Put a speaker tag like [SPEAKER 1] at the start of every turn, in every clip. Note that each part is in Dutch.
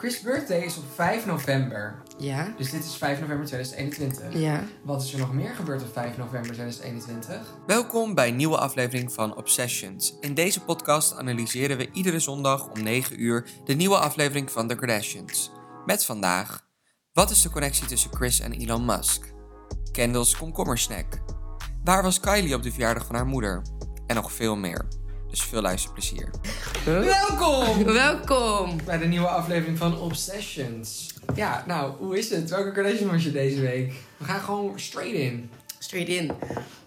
[SPEAKER 1] Chris' birthday is op 5 november.
[SPEAKER 2] Ja.
[SPEAKER 1] Dus dit is 5 november 2021.
[SPEAKER 2] Ja.
[SPEAKER 1] Wat is er nog meer gebeurd op 5 november 2021?
[SPEAKER 3] Welkom bij een nieuwe aflevering van Obsessions. In deze podcast analyseren we iedere zondag om 9 uur de nieuwe aflevering van The Kardashians. Met vandaag: wat is de connectie tussen Chris en Elon Musk? Kendall's komkommersnack. Waar was Kylie op de verjaardag van haar moeder? En nog veel meer. Dus veel luisterplezier.
[SPEAKER 1] Welkom
[SPEAKER 2] Welkom.
[SPEAKER 1] bij de nieuwe aflevering van Obsessions. Ja, nou, hoe is het? Welke Kardashian was je deze week? We gaan gewoon straight in.
[SPEAKER 2] Straight in.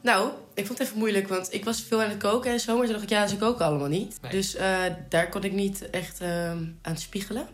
[SPEAKER 2] Nou, ik vond het even moeilijk, want ik was veel aan het koken en zo, maar toen dacht ik, ja, ze koken allemaal niet.
[SPEAKER 1] Nee.
[SPEAKER 2] Dus eh, daar kon ik niet echt ehm, aan spiegelen.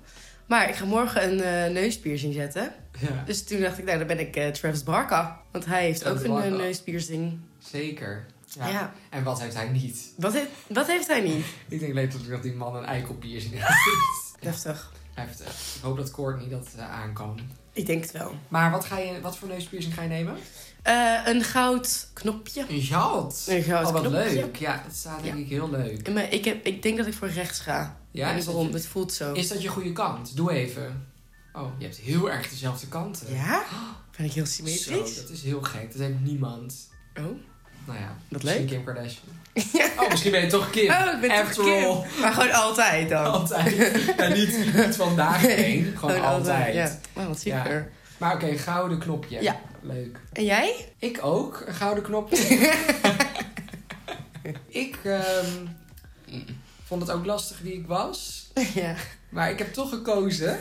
[SPEAKER 2] Maar ik ga morgen een eh, neuspiercing zetten.
[SPEAKER 1] Ja,
[SPEAKER 2] Dus toen dacht ik, nou, dan ben ik eh, Travis Barker. Want hij heeft
[SPEAKER 1] Travis
[SPEAKER 2] ook een eh,
[SPEAKER 1] Barker.
[SPEAKER 2] neuspiercing.
[SPEAKER 1] zeker.
[SPEAKER 2] Ja.
[SPEAKER 1] Ja. En wat heeft hij niet?
[SPEAKER 2] Wat, heeft, wat heeft hij niet?
[SPEAKER 1] Ik denk letterlijk dat die man een eikelpiercing heeft.
[SPEAKER 2] Heftig.
[SPEAKER 1] Heftig. Ik hoop dat Courtney dat eh, aan kan.
[SPEAKER 2] Ik denk het wel.
[SPEAKER 1] Maar wat, ga je, wat voor neuspiercing ga je nemen?
[SPEAKER 2] Eh, een goud knopje.
[SPEAKER 1] Een goud.
[SPEAKER 2] Een goud
[SPEAKER 1] Oh, wat
[SPEAKER 2] knopje.
[SPEAKER 1] leuk. Ja, dat staat denk
[SPEAKER 2] Ja.
[SPEAKER 1] ik heel leuk.
[SPEAKER 2] Maar ik, heb, ik denk dat ik voor rechts ga.
[SPEAKER 1] Ja,
[SPEAKER 2] en
[SPEAKER 1] is dat
[SPEAKER 2] waarom?
[SPEAKER 1] je-
[SPEAKER 2] Het voelt zo.
[SPEAKER 1] Is dat je goede kant? Doe even. Oh, je hebt heel erg dezelfde kanten.
[SPEAKER 2] Ja? Ben ik heel
[SPEAKER 1] Zo,
[SPEAKER 2] symmetrisch?
[SPEAKER 1] dat is heel gek. Dat heeft niemand.
[SPEAKER 2] Oh.
[SPEAKER 1] Nou ja.
[SPEAKER 2] Wat
[SPEAKER 1] misschien
[SPEAKER 2] leuk.
[SPEAKER 1] Kim Kardashian. Oh, misschien ben je toch Kim.
[SPEAKER 2] Oh, ik ben
[SPEAKER 1] After
[SPEAKER 2] toch Kim.
[SPEAKER 1] all.
[SPEAKER 2] Maar gewoon altijd dan.
[SPEAKER 1] Altijd. Ja, niet, niet vandaag heen. Oh, Gewoon altijd.
[SPEAKER 2] Ja. Wauw, wat
[SPEAKER 1] Ja.
[SPEAKER 2] super.
[SPEAKER 1] Maar oké, een gouden knopje.
[SPEAKER 2] Ja.
[SPEAKER 1] Leuk.
[SPEAKER 2] En jij?
[SPEAKER 1] Ik ook. Een gouden knopje. ik ehm, vond het ook lastig wie ik was.
[SPEAKER 2] ja.
[SPEAKER 1] Maar ik heb toch gekozen.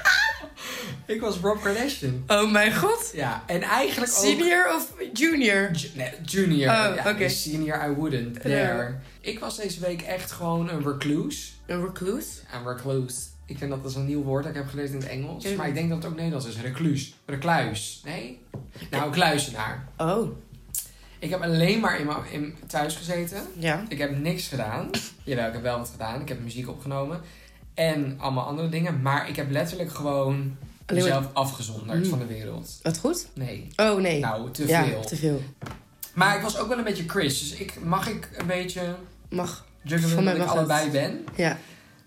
[SPEAKER 1] ik was Rob Kardashian.
[SPEAKER 2] Oh mijn god.
[SPEAKER 1] Ja, en eigenlijk ook...
[SPEAKER 2] Senior of junior?
[SPEAKER 1] Ju- nee, junior.
[SPEAKER 2] Oh,
[SPEAKER 1] ja,
[SPEAKER 2] oké.
[SPEAKER 1] dus Senior, I wouldn't.
[SPEAKER 2] Ja.
[SPEAKER 1] There. Ik was deze week echt gewoon een recluse.
[SPEAKER 2] Een recluse?
[SPEAKER 1] Een recluse. Ik vind dat dat is een nieuw woord dat ik heb gelezen in het Engels.
[SPEAKER 2] Ja.
[SPEAKER 1] Maar ik denk dat het ook Nederlands is. Recluse. Recluis. Nee? Nou, een kluisenaar.
[SPEAKER 2] Oh,
[SPEAKER 1] Ik heb alleen maar in mijn, in, thuis gezeten.
[SPEAKER 2] ja.
[SPEAKER 1] Ik heb niks gedaan. Jawel, ik heb wel wat gedaan. Ik heb muziek opgenomen. En allemaal andere dingen. Maar ik heb letterlijk gewoon
[SPEAKER 2] Alleen maar-
[SPEAKER 1] mezelf afgezonderd
[SPEAKER 2] Mm.
[SPEAKER 1] van de wereld.
[SPEAKER 2] Wat goed?
[SPEAKER 1] Nee.
[SPEAKER 2] Oh nee.
[SPEAKER 1] Nou, te
[SPEAKER 2] ja,
[SPEAKER 1] veel.
[SPEAKER 2] te veel.
[SPEAKER 1] Maar ik was ook wel een beetje Chris. Dus ik, mag ik een beetje
[SPEAKER 2] Mag. Van
[SPEAKER 1] juggelen
[SPEAKER 2] mij
[SPEAKER 1] dat ik
[SPEAKER 2] mag
[SPEAKER 1] allebei
[SPEAKER 2] het.
[SPEAKER 1] ben?
[SPEAKER 2] Ja,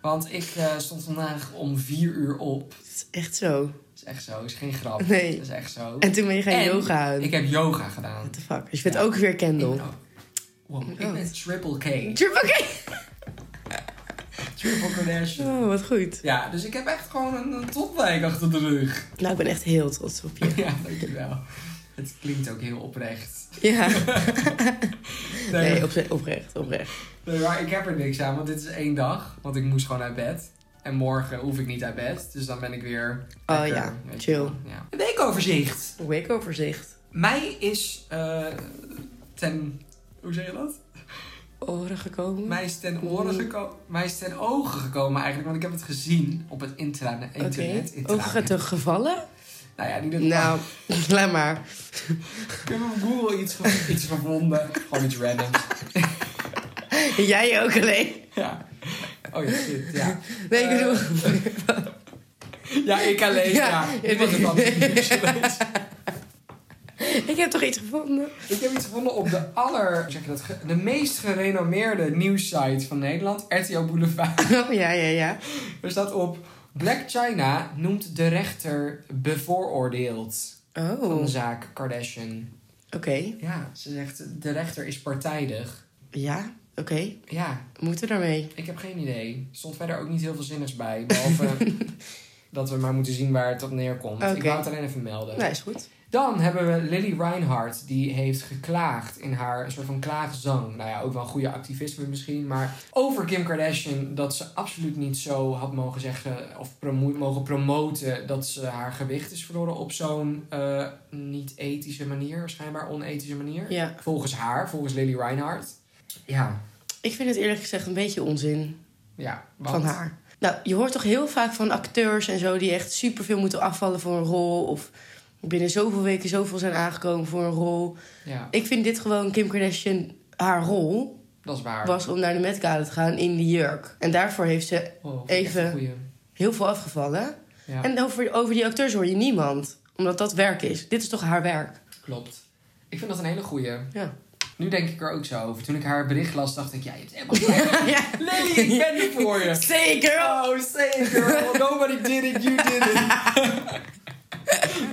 [SPEAKER 1] Want ik eh, stond vandaag om vier uur op.
[SPEAKER 2] het is echt zo.
[SPEAKER 1] Dat is echt zo. Dat is geen grap.
[SPEAKER 2] Nee.
[SPEAKER 1] Dat is echt zo.
[SPEAKER 2] En ehm, toen ben je gaan
[SPEAKER 1] En
[SPEAKER 2] yoga houden.
[SPEAKER 1] Ik heb yoga gedaan.
[SPEAKER 2] What the fuck? Dus je bent
[SPEAKER 1] Ja.
[SPEAKER 2] ook weer
[SPEAKER 1] Ik
[SPEAKER 2] Kendall.
[SPEAKER 1] ben ook- Wow, ik
[SPEAKER 2] Oh.
[SPEAKER 1] ben triple K.
[SPEAKER 2] Oké.
[SPEAKER 1] Triple Kardashian.
[SPEAKER 2] Oh, wat goed.
[SPEAKER 1] Ja, dus ik heb echt gewoon een, een topwijk achter de rug.
[SPEAKER 2] Nou, ik ben echt heel trots op je.
[SPEAKER 1] Ja, dankjewel. Het klinkt ook heel oprecht.
[SPEAKER 2] Ja.
[SPEAKER 1] Nee,
[SPEAKER 2] Nee, op- oprecht, oprecht.
[SPEAKER 1] nee, maar ik heb er niks aan, want dit is één dag. Want ik moest gewoon uit bed. En morgen hoef ik niet uit bed. Dus dan ben ik weer.
[SPEAKER 2] Oh
[SPEAKER 1] lekker,
[SPEAKER 2] ja,
[SPEAKER 1] weet je
[SPEAKER 2] chill.
[SPEAKER 1] wel, Ja. Een weekoverzicht.
[SPEAKER 2] Weekoverzicht.
[SPEAKER 1] Mij is eh, ten. Hoe zeg je dat?
[SPEAKER 2] Oren gekomen.
[SPEAKER 1] Mij is ten oren
[SPEAKER 2] Mm.
[SPEAKER 1] gekomen. Mij is ten ogen gekomen eigenlijk. Want ik heb het gezien op het intrane-
[SPEAKER 2] Oké.
[SPEAKER 1] internet.
[SPEAKER 2] Ogen
[SPEAKER 1] Intranet.
[SPEAKER 2] gaat er gevallen?
[SPEAKER 1] Nou ja, niet dat
[SPEAKER 2] Nou, laat maar.
[SPEAKER 1] Ik heb op Google iets, ge- iets gevonden. Gewoon iets randoms.
[SPEAKER 2] Jij ook alleen.
[SPEAKER 1] Ja. Oh ja, shit, ja.
[SPEAKER 2] Nee, ik bedoel...
[SPEAKER 1] Ja, ik alleen.
[SPEAKER 2] Ja.
[SPEAKER 1] Ja, ik was het anders nieuws geweest.
[SPEAKER 2] ik heb toch iets gevonden?
[SPEAKER 1] Ik heb iets gevonden op de aller, hoe zeg je dat, ge- de meest gerenommeerde nieuwssite van Nederland, RTO Boulevard.
[SPEAKER 2] Oh, ja, ja, ja.
[SPEAKER 1] Er staat op, Black China noemt de rechter bevooroordeeld
[SPEAKER 2] Oh,
[SPEAKER 1] van de
[SPEAKER 2] oké.
[SPEAKER 1] zaak Kardashian. Ja, ze zegt, de rechter is partijdig.
[SPEAKER 2] Ja, oké.
[SPEAKER 1] Ja,
[SPEAKER 2] Moeten we daarmee?
[SPEAKER 1] ik heb geen idee. Er stond verder ook niet heel veel zinnigs bij, behalve... Dat we maar moeten zien waar het op neerkomt. Ik
[SPEAKER 2] Oké.
[SPEAKER 1] wou het alleen even melden.
[SPEAKER 2] Nou, is goed.
[SPEAKER 1] Dan hebben we Lily Reinhardt, die heeft geklaagd in haar soort van klaagzang. Nou ja, ook wel een goede activisme misschien, maar over Kim Kardashian dat ze absoluut niet zo had mogen zeggen of promo- mogen promoten dat ze haar gewicht is verloren op zo'n eh, niet ethische manier, schijnbaar onethische manier.
[SPEAKER 2] Ja.
[SPEAKER 1] Volgens haar, volgens Lily Reinhardt. Ja,
[SPEAKER 2] Ik vind het eerlijk gezegd een beetje onzin
[SPEAKER 1] ja. want-
[SPEAKER 2] van haar. Nou, je hoort toch heel vaak van acteurs en zo die echt superveel moeten afvallen voor een rol. Of binnen zoveel weken zoveel zijn aangekomen voor een rol.
[SPEAKER 1] Ja,
[SPEAKER 2] Ik vind dit gewoon Kim Kardashian, haar rol
[SPEAKER 1] dat is waar.
[SPEAKER 2] was om naar de Met Gala te gaan in die jurk. En daarvoor heeft ze
[SPEAKER 1] Oh, vind ik echt
[SPEAKER 2] even-
[SPEAKER 1] een goeie.
[SPEAKER 2] heel veel afgevallen.
[SPEAKER 1] Ja.
[SPEAKER 2] En over, over die acteurs hoor je niemand. Omdat dat werk is. Dit is toch haar werk?
[SPEAKER 1] Klopt. Ik vind dat een hele goeie.
[SPEAKER 2] Ja.
[SPEAKER 1] Nu denk ik er ook zo over. Toen ik haar bericht las, dacht ik, ja, je hebt helemaal gelijk.
[SPEAKER 2] ja.
[SPEAKER 1] Lily, ik ben er voor je.
[SPEAKER 2] Zeker!
[SPEAKER 1] Oh, zeker. Nobody did it, you did it.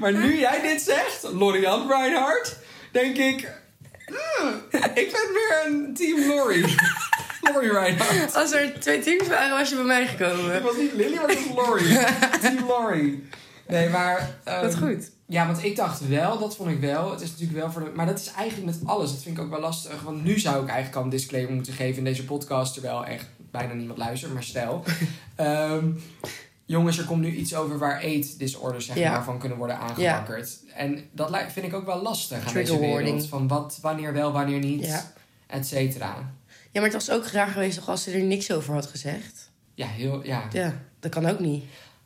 [SPEAKER 1] maar nu jij dit zegt, Lorian Reinhardt, denk ik... mm, ik ben weer een team Lori. Lori Reinhardt.
[SPEAKER 2] Als er twee teams waren, was je bij mij
[SPEAKER 1] Het
[SPEAKER 2] gekomen.
[SPEAKER 1] was niet Lily, maar het was Lori. team Lori. Nee, maar... ehm,
[SPEAKER 2] Wat goed.
[SPEAKER 1] Ja, want ik dacht wel, dat vond ik wel. Het is natuurlijk wel voor de. Maar dat is eigenlijk met alles. Dat vind ik ook wel lastig. Want nu zou ik eigenlijk al een disclaimer moeten geven in deze podcast. Terwijl echt bijna niemand luistert, maar stel. Ehm, jongens, er komt nu iets over waar eet disorders zeg
[SPEAKER 2] Ja.
[SPEAKER 1] maar, van kunnen worden aangewakkerd. En dat li- vind ik ook wel lastig aan
[SPEAKER 2] Trigger
[SPEAKER 1] deze wereld.
[SPEAKER 2] warning.
[SPEAKER 1] Van wat, wanneer wel, wanneer niet,
[SPEAKER 2] Ja.
[SPEAKER 1] et cetera.
[SPEAKER 2] Ja, maar het was ook graag geweest nog als ze er niks over had gezegd.
[SPEAKER 1] Ja, heel, ja.
[SPEAKER 2] Ja, dat kan ook niet.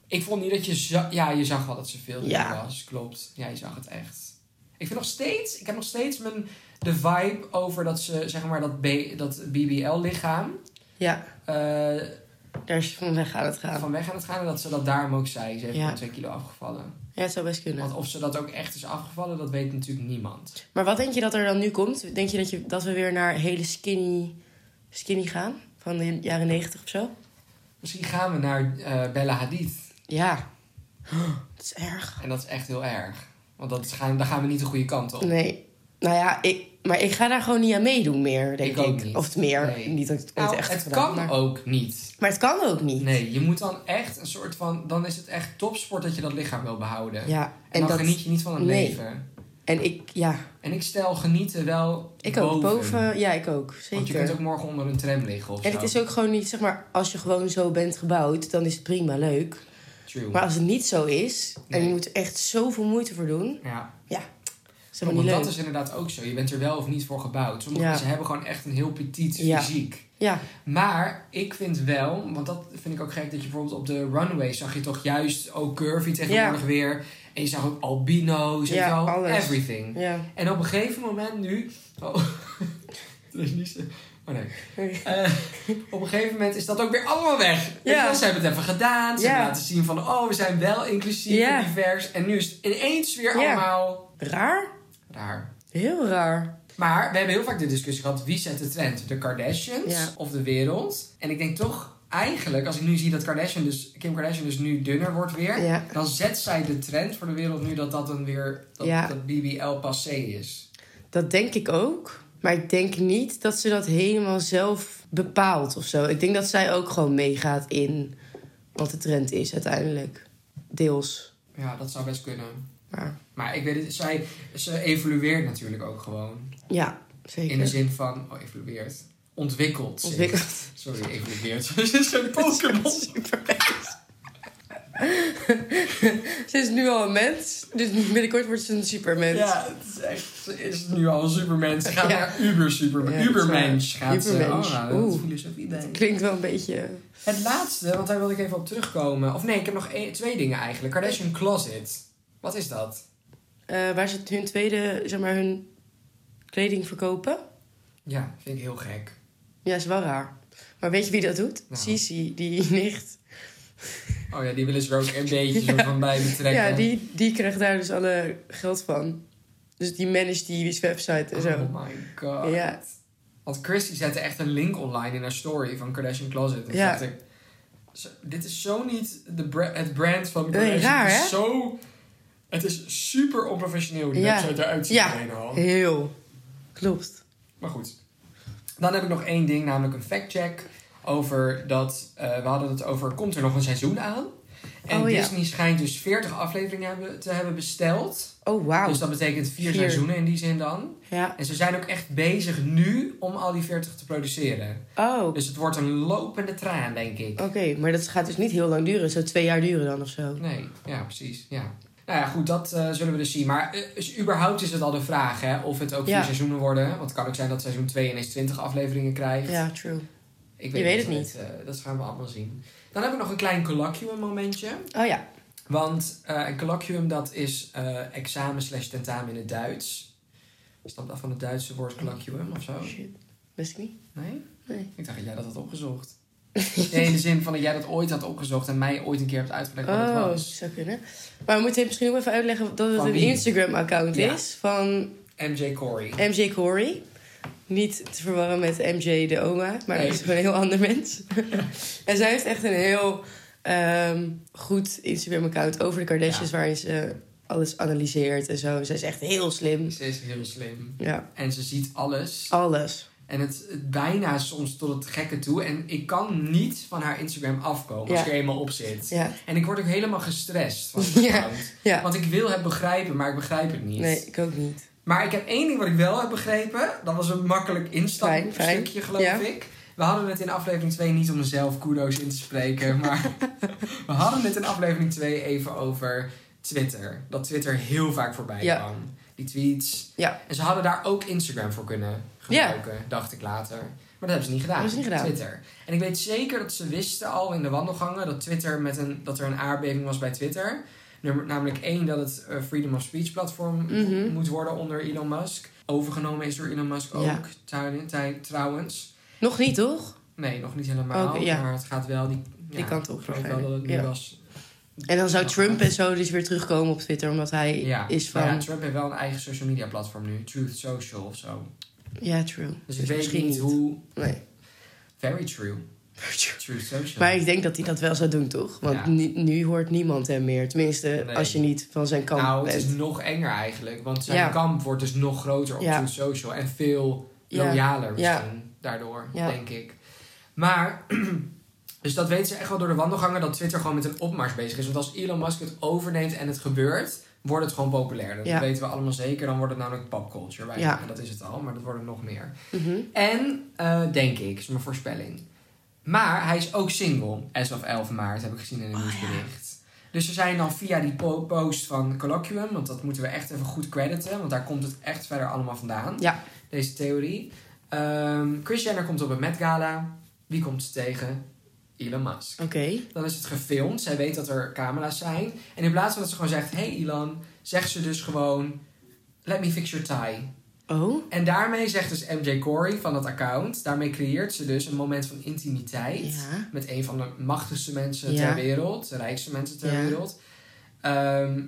[SPEAKER 1] Ik vond niet dat je... za- ja, je zag wel dat ze veel
[SPEAKER 2] Ja.
[SPEAKER 1] ja. was. Klopt. Ja, je zag het echt. Ik vind nog steeds... Ik heb nog steeds mijn, de vibe over dat ze, zeg maar, dat, B, dat BBL-lichaam...
[SPEAKER 2] Ja,
[SPEAKER 1] eh,
[SPEAKER 2] daar is van weg aan het gaan.
[SPEAKER 1] van weg aan het gaan. En dat ze dat daarom ook zei. Ze heeft
[SPEAKER 2] Ja.
[SPEAKER 1] gewoon twee kilo afgevallen.
[SPEAKER 2] Ja, het zou best kunnen.
[SPEAKER 1] Want of ze dat ook echt is afgevallen, dat weet natuurlijk niemand.
[SPEAKER 2] Maar wat denk je dat er dan nu komt? Denk je dat, je, dat we weer naar hele skinny, skinny gaan? Van de jaren negentig of zo?
[SPEAKER 1] Misschien gaan we naar eh, Bella Hadid.
[SPEAKER 2] Ja. Dat is erg.
[SPEAKER 1] En dat is echt heel erg. Want dat is gaan, daar gaan we niet de goede kant op.
[SPEAKER 2] Nee. Nou ja, ik, maar ik ga daar gewoon niet aan meedoen meer, denk
[SPEAKER 1] Ik
[SPEAKER 2] ik.
[SPEAKER 1] ook niet.
[SPEAKER 2] Of het meer.
[SPEAKER 1] Nee.
[SPEAKER 2] Niet dat ik het ooit
[SPEAKER 1] Nou,
[SPEAKER 2] echt heb
[SPEAKER 1] het
[SPEAKER 2] gedaan,
[SPEAKER 1] kan
[SPEAKER 2] maar,
[SPEAKER 1] ook niet.
[SPEAKER 2] maar het kan ook niet.
[SPEAKER 1] Nee, je moet dan echt een soort van... Dan is het echt topsport dat je dat lichaam wil behouden.
[SPEAKER 2] Ja.
[SPEAKER 1] En, dan
[SPEAKER 2] dat,
[SPEAKER 1] geniet je niet van het
[SPEAKER 2] nee.
[SPEAKER 1] leven.
[SPEAKER 2] En ik, ja.
[SPEAKER 1] En ik stel genieten wel
[SPEAKER 2] Ik
[SPEAKER 1] boven.
[SPEAKER 2] ook. Boven, ja, ik ook. Zeker.
[SPEAKER 1] Want je kunt ook morgen onder een tram liggen of
[SPEAKER 2] En
[SPEAKER 1] zo.
[SPEAKER 2] het is ook gewoon niet, zeg maar, als je gewoon zo bent gebouwd, dan is het prima leuk.
[SPEAKER 1] True.
[SPEAKER 2] Maar als het niet zo is, en
[SPEAKER 1] Nee.
[SPEAKER 2] je moet er echt zoveel moeite voor doen,
[SPEAKER 1] ja,
[SPEAKER 2] is helemaal
[SPEAKER 1] want
[SPEAKER 2] niet
[SPEAKER 1] dat
[SPEAKER 2] leuk.
[SPEAKER 1] is inderdaad ook zo. Je bent er wel of niet voor gebouwd. Sommige
[SPEAKER 2] Ja.
[SPEAKER 1] mensen hebben gewoon echt een heel petit
[SPEAKER 2] Ja.
[SPEAKER 1] fysiek.
[SPEAKER 2] Ja,
[SPEAKER 1] Maar ik vind wel, want dat vind ik ook gek, dat je bijvoorbeeld op de runway zag je toch juist ook curvy tegenwoordig weer. En je zag ook albino's en
[SPEAKER 2] Ja,
[SPEAKER 1] zo.
[SPEAKER 2] alles.
[SPEAKER 1] Everything.
[SPEAKER 2] ja.
[SPEAKER 1] En op een gegeven moment nu. Oh, dat is niet zo. Oh nee. Eh, op een gegeven moment is dat ook weer allemaal weg. Weet je
[SPEAKER 2] Ja.
[SPEAKER 1] wel, Ze hebben het even gedaan. Ze
[SPEAKER 2] Ja.
[SPEAKER 1] hebben laten zien van, oh, we zijn wel inclusief
[SPEAKER 2] Ja.
[SPEAKER 1] en divers. En nu is het ineens weer
[SPEAKER 2] Ja.
[SPEAKER 1] allemaal
[SPEAKER 2] Raar?
[SPEAKER 1] raar.
[SPEAKER 2] Heel raar.
[SPEAKER 1] Maar we hebben heel vaak de discussie gehad, wie zet de trend? De Kardashians
[SPEAKER 2] Ja.
[SPEAKER 1] of de wereld? En ik denk toch, eigenlijk, als ik nu zie dat Kardashian dus, Kim Kardashian dus nu dunner wordt weer...
[SPEAKER 2] Ja.
[SPEAKER 1] dan zet zij de trend voor de wereld nu dat dat dan weer, dat,
[SPEAKER 2] Ja.
[SPEAKER 1] dat BBL passé is.
[SPEAKER 2] Dat denk ik ook. Maar ik denk niet dat ze dat helemaal zelf bepaalt of zo. Ik denk dat zij ook gewoon meegaat in wat de trend is uiteindelijk. Deels.
[SPEAKER 1] Ja, dat zou best kunnen.
[SPEAKER 2] Maar
[SPEAKER 1] Maar ik weet het, zij, ze evolueert natuurlijk ook gewoon.
[SPEAKER 2] ja, zeker.
[SPEAKER 1] In de zin van, oh, evolueert. Ontwikkelt zich.
[SPEAKER 2] Ontwikkeld.
[SPEAKER 1] Sorry, evolueert. Ze is een Pokémon.
[SPEAKER 2] Ze is nu al een mens. Dus binnenkort wordt ze een supermens.
[SPEAKER 1] Ja, het is echt, ze is nu al een supermens. Ze gaat
[SPEAKER 2] Ja.
[SPEAKER 1] naar uber superman.
[SPEAKER 2] Ja, dat is
[SPEAKER 1] Ubermensch
[SPEAKER 2] waar.
[SPEAKER 1] gaat ze.
[SPEAKER 2] Ubermensch.
[SPEAKER 1] Oh, nou, dat is
[SPEAKER 2] Oeh.
[SPEAKER 1] filosofie bij.
[SPEAKER 2] Klinkt wel een beetje...
[SPEAKER 1] Het laatste, want daar wilde ik even op terugkomen. Of nee, ik heb nog één- twee dingen eigenlijk. Kardashian Closet. Wat is dat?
[SPEAKER 2] eh, waar ze hun tweede, zeg maar, hun kleding verkopen.
[SPEAKER 1] Ja, vind ik heel gek.
[SPEAKER 2] Ja, is wel raar. Maar weet je wie dat doet?
[SPEAKER 1] Nou.
[SPEAKER 2] Sisi, die nicht.
[SPEAKER 1] Oh ja, die willen ze er ook een beetje zo van bij betrekken.
[SPEAKER 2] Ja, die, die krijgt daar dus alle geld van. Dus die managt die, die website en zo.
[SPEAKER 1] Oh my god.
[SPEAKER 2] Ja.
[SPEAKER 1] Want Christy zette echt een link online in haar story van Kardashian Closet. En
[SPEAKER 2] Ja.
[SPEAKER 1] dacht ik, zo- dit is zo niet de bra- het brand van Kardashian.
[SPEAKER 2] raar,
[SPEAKER 1] het is
[SPEAKER 2] hè?
[SPEAKER 1] zo... Het is super onprofessioneel hoe die
[SPEAKER 2] Ja.
[SPEAKER 1] website eruit ziet
[SPEAKER 2] Ja.
[SPEAKER 1] alleen al.
[SPEAKER 2] Heel. Klopt.
[SPEAKER 1] Maar goed. Dan heb ik nog één ding, namelijk een factcheck. Over dat, eh, we hadden het over, komt er nog een seizoen aan? En
[SPEAKER 2] Oh, ja.
[SPEAKER 1] Disney schijnt dus 40 afleveringen hebben, te hebben besteld.
[SPEAKER 2] Oh, wauw.
[SPEAKER 1] Dus dat betekent vier
[SPEAKER 2] Vier.
[SPEAKER 1] seizoenen in die zin dan.
[SPEAKER 2] Ja.
[SPEAKER 1] En ze zijn ook echt bezig nu om al die 40 te produceren.
[SPEAKER 2] Oh, oké.
[SPEAKER 1] Dus het wordt een lopende traan, denk ik.
[SPEAKER 2] Maar dat gaat dus niet heel lang duren. Zo twee jaar duren dan of zo.
[SPEAKER 1] Nee, ja, precies. Ja. Nou ja, goed, dat eh, zullen we dus zien. Maar eh, is- überhaupt is het al de vraag, hè? Of het ook vier
[SPEAKER 2] Ja.
[SPEAKER 1] seizoenen worden. Want het kan ook zijn dat seizoen 2 ineens 20 afleveringen krijgt.
[SPEAKER 2] Ja, true.
[SPEAKER 1] Ik
[SPEAKER 2] je weet het
[SPEAKER 1] niet. of eh, dat gaan we allemaal zien. Dan heb ik nog een klein colloquium momentje.
[SPEAKER 2] Oh ja.
[SPEAKER 1] Want eh, een colloquium, dat is eh, examen slash tentamen in het Duits. Stamt af van het Duitse woord colloquium of zo?
[SPEAKER 2] Shit. Wist ik niet.
[SPEAKER 1] Nee?
[SPEAKER 2] Nee.
[SPEAKER 1] Ik dacht dat jij dat had opgezocht. Nee, in de zin van dat jij dat ooit had opgezocht en mij ooit een keer hebt uitgelegd wat het
[SPEAKER 2] Oh,
[SPEAKER 1] was.
[SPEAKER 2] zou kunnen. Maar we moeten misschien ook even uitleggen dat het
[SPEAKER 1] Van
[SPEAKER 2] een
[SPEAKER 1] wie?
[SPEAKER 2] Instagram-account
[SPEAKER 1] Ja.
[SPEAKER 2] is van
[SPEAKER 1] MJ Corey.
[SPEAKER 2] MJ Corey. Niet te verwarren met MJ de oma, maar
[SPEAKER 1] Nee.
[SPEAKER 2] hij is gewoon een heel ander mens. en zij heeft echt een heel ehm, goed Instagram-account over de Kardashians... waarin ze alles analyseert en zo. Zij is echt heel slim.
[SPEAKER 1] Ze is heel slim.
[SPEAKER 2] Ja,
[SPEAKER 1] En ze ziet alles.
[SPEAKER 2] alles.
[SPEAKER 1] En het, het bijna soms tot het gekke toe. En ik kan niet van haar Instagram afkomen als
[SPEAKER 2] Ja.
[SPEAKER 1] ik er eenmaal op zit.
[SPEAKER 2] Ja,
[SPEAKER 1] En ik word ook helemaal gestrest van het
[SPEAKER 2] Ja.
[SPEAKER 1] account.
[SPEAKER 2] ja.
[SPEAKER 1] Want ik wil het begrijpen, maar ik begrijp het niet.
[SPEAKER 2] Nee, ik ook niet.
[SPEAKER 1] Maar ik heb één ding wat ik wel heb begrepen. Dat was een makkelijk
[SPEAKER 2] Fijn, fijn.
[SPEAKER 1] instapstukje, geloof
[SPEAKER 2] Ja.
[SPEAKER 1] ik. We hadden het in aflevering 2 niet om mezelf kudo's in te spreken. Maar we hadden het in aflevering 2 even over Twitter. Dat Twitter heel vaak voorbij
[SPEAKER 2] Ja.
[SPEAKER 1] kwam. Die tweets.
[SPEAKER 2] Ja.
[SPEAKER 1] En ze hadden daar ook Instagram voor kunnen gebruiken, dacht ik later. Maar dat hebben ze niet gedaan.
[SPEAKER 2] Dat hebben ze niet gedaan.
[SPEAKER 1] Twitter. En ik weet zeker dat ze wisten al in de wandelgangen dat, Twitter met een, dat er een aardbeving was bij Twitter. Nummer- namelijk één, dat het eh, Freedom of Speech platform
[SPEAKER 2] Mhm.
[SPEAKER 1] moet worden onder Elon Musk. Overgenomen is door Elon Musk ook,
[SPEAKER 2] Ja.
[SPEAKER 1] trouw- tij- trouwens.
[SPEAKER 2] Nog niet, toch?
[SPEAKER 1] Nee, nog niet helemaal,
[SPEAKER 2] Oké, ja.
[SPEAKER 1] maar het gaat wel die,
[SPEAKER 2] Die kant op
[SPEAKER 1] Ik geloof wel dat het
[SPEAKER 2] waarschijnlijk,
[SPEAKER 1] nu
[SPEAKER 2] ja.
[SPEAKER 1] was.
[SPEAKER 2] En dan zou
[SPEAKER 1] Ja.
[SPEAKER 2] Trump en zo dus weer terugkomen op Twitter... omdat hij
[SPEAKER 1] Ja.
[SPEAKER 2] is van...
[SPEAKER 1] Maar ja,
[SPEAKER 2] Ja,
[SPEAKER 1] Trump heeft wel een eigen social media platform nu, Truth Social of zo.
[SPEAKER 2] true.
[SPEAKER 1] Dus, ik weet niet, hoe...
[SPEAKER 2] Nee.
[SPEAKER 1] Very true. Truth Social.
[SPEAKER 2] Maar ik denk dat hij dat wel zou doen, toch? Want
[SPEAKER 1] Ja.
[SPEAKER 2] nu, nu hoort niemand hem meer. Tenminste,
[SPEAKER 1] Nee.
[SPEAKER 2] als je niet van zijn kant
[SPEAKER 1] nou, het
[SPEAKER 2] bent.
[SPEAKER 1] is nog enger eigenlijk, want zijn
[SPEAKER 2] Ja.
[SPEAKER 1] kamp wordt dus nog groter op
[SPEAKER 2] Ja.
[SPEAKER 1] Truth Social en veel
[SPEAKER 2] Ja.
[SPEAKER 1] loyaler
[SPEAKER 2] Ja.
[SPEAKER 1] misschien daardoor,
[SPEAKER 2] Ja.
[SPEAKER 1] denk ik. Maar, dus dat weten ze echt wel door de wandelgangen dat Twitter gewoon met een opmars bezig is. Want als Elon Musk het overneemt en het gebeurt, wordt het gewoon populair. Dat
[SPEAKER 2] Ja.
[SPEAKER 1] weten we allemaal zeker. Dan wordt het namelijk popculture. bijna.
[SPEAKER 2] Ja.
[SPEAKER 1] En dat is het al, maar dat wordt het nog meer.
[SPEAKER 2] Mhm.
[SPEAKER 1] En, eh, denk ik, is mijn voorspelling. Maar hij is ook single, as of 11 maart, heb ik gezien in een nieuwsbericht. Dus ze zijn dan via die po- post van Colloquium, want dat moeten we echt even goed crediten, want daar komt het echt verder allemaal vandaan,
[SPEAKER 2] Ja.
[SPEAKER 1] deze theorie. Ehm Chris Jenner komt op een Met Gala. Wie komt ze tegen? Elon Musk.
[SPEAKER 2] Oké.
[SPEAKER 1] Dan is het gefilmd, zij weet dat er camera's zijn. En in plaats van dat ze gewoon zegt, hey Elon, zegt ze dus gewoon, let me fix your tie.
[SPEAKER 2] Oh.
[SPEAKER 1] En daarmee zegt dus MJ Corey van dat account, daarmee creëert ze dus een moment van intimiteit
[SPEAKER 2] Ja.
[SPEAKER 1] met een van de machtigste mensen
[SPEAKER 2] Ja.
[SPEAKER 1] ter wereld, de rijkste mensen ter
[SPEAKER 2] Ja.
[SPEAKER 1] wereld. Ehm,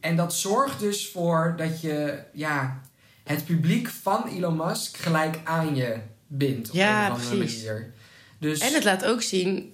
[SPEAKER 1] en dat zorgt dus voor dat je ja, het publiek van Elon Musk gelijk aan je bindt. Op
[SPEAKER 2] Ja,
[SPEAKER 1] een of andere
[SPEAKER 2] precies.
[SPEAKER 1] manier. Dus,
[SPEAKER 2] En het laat ook zien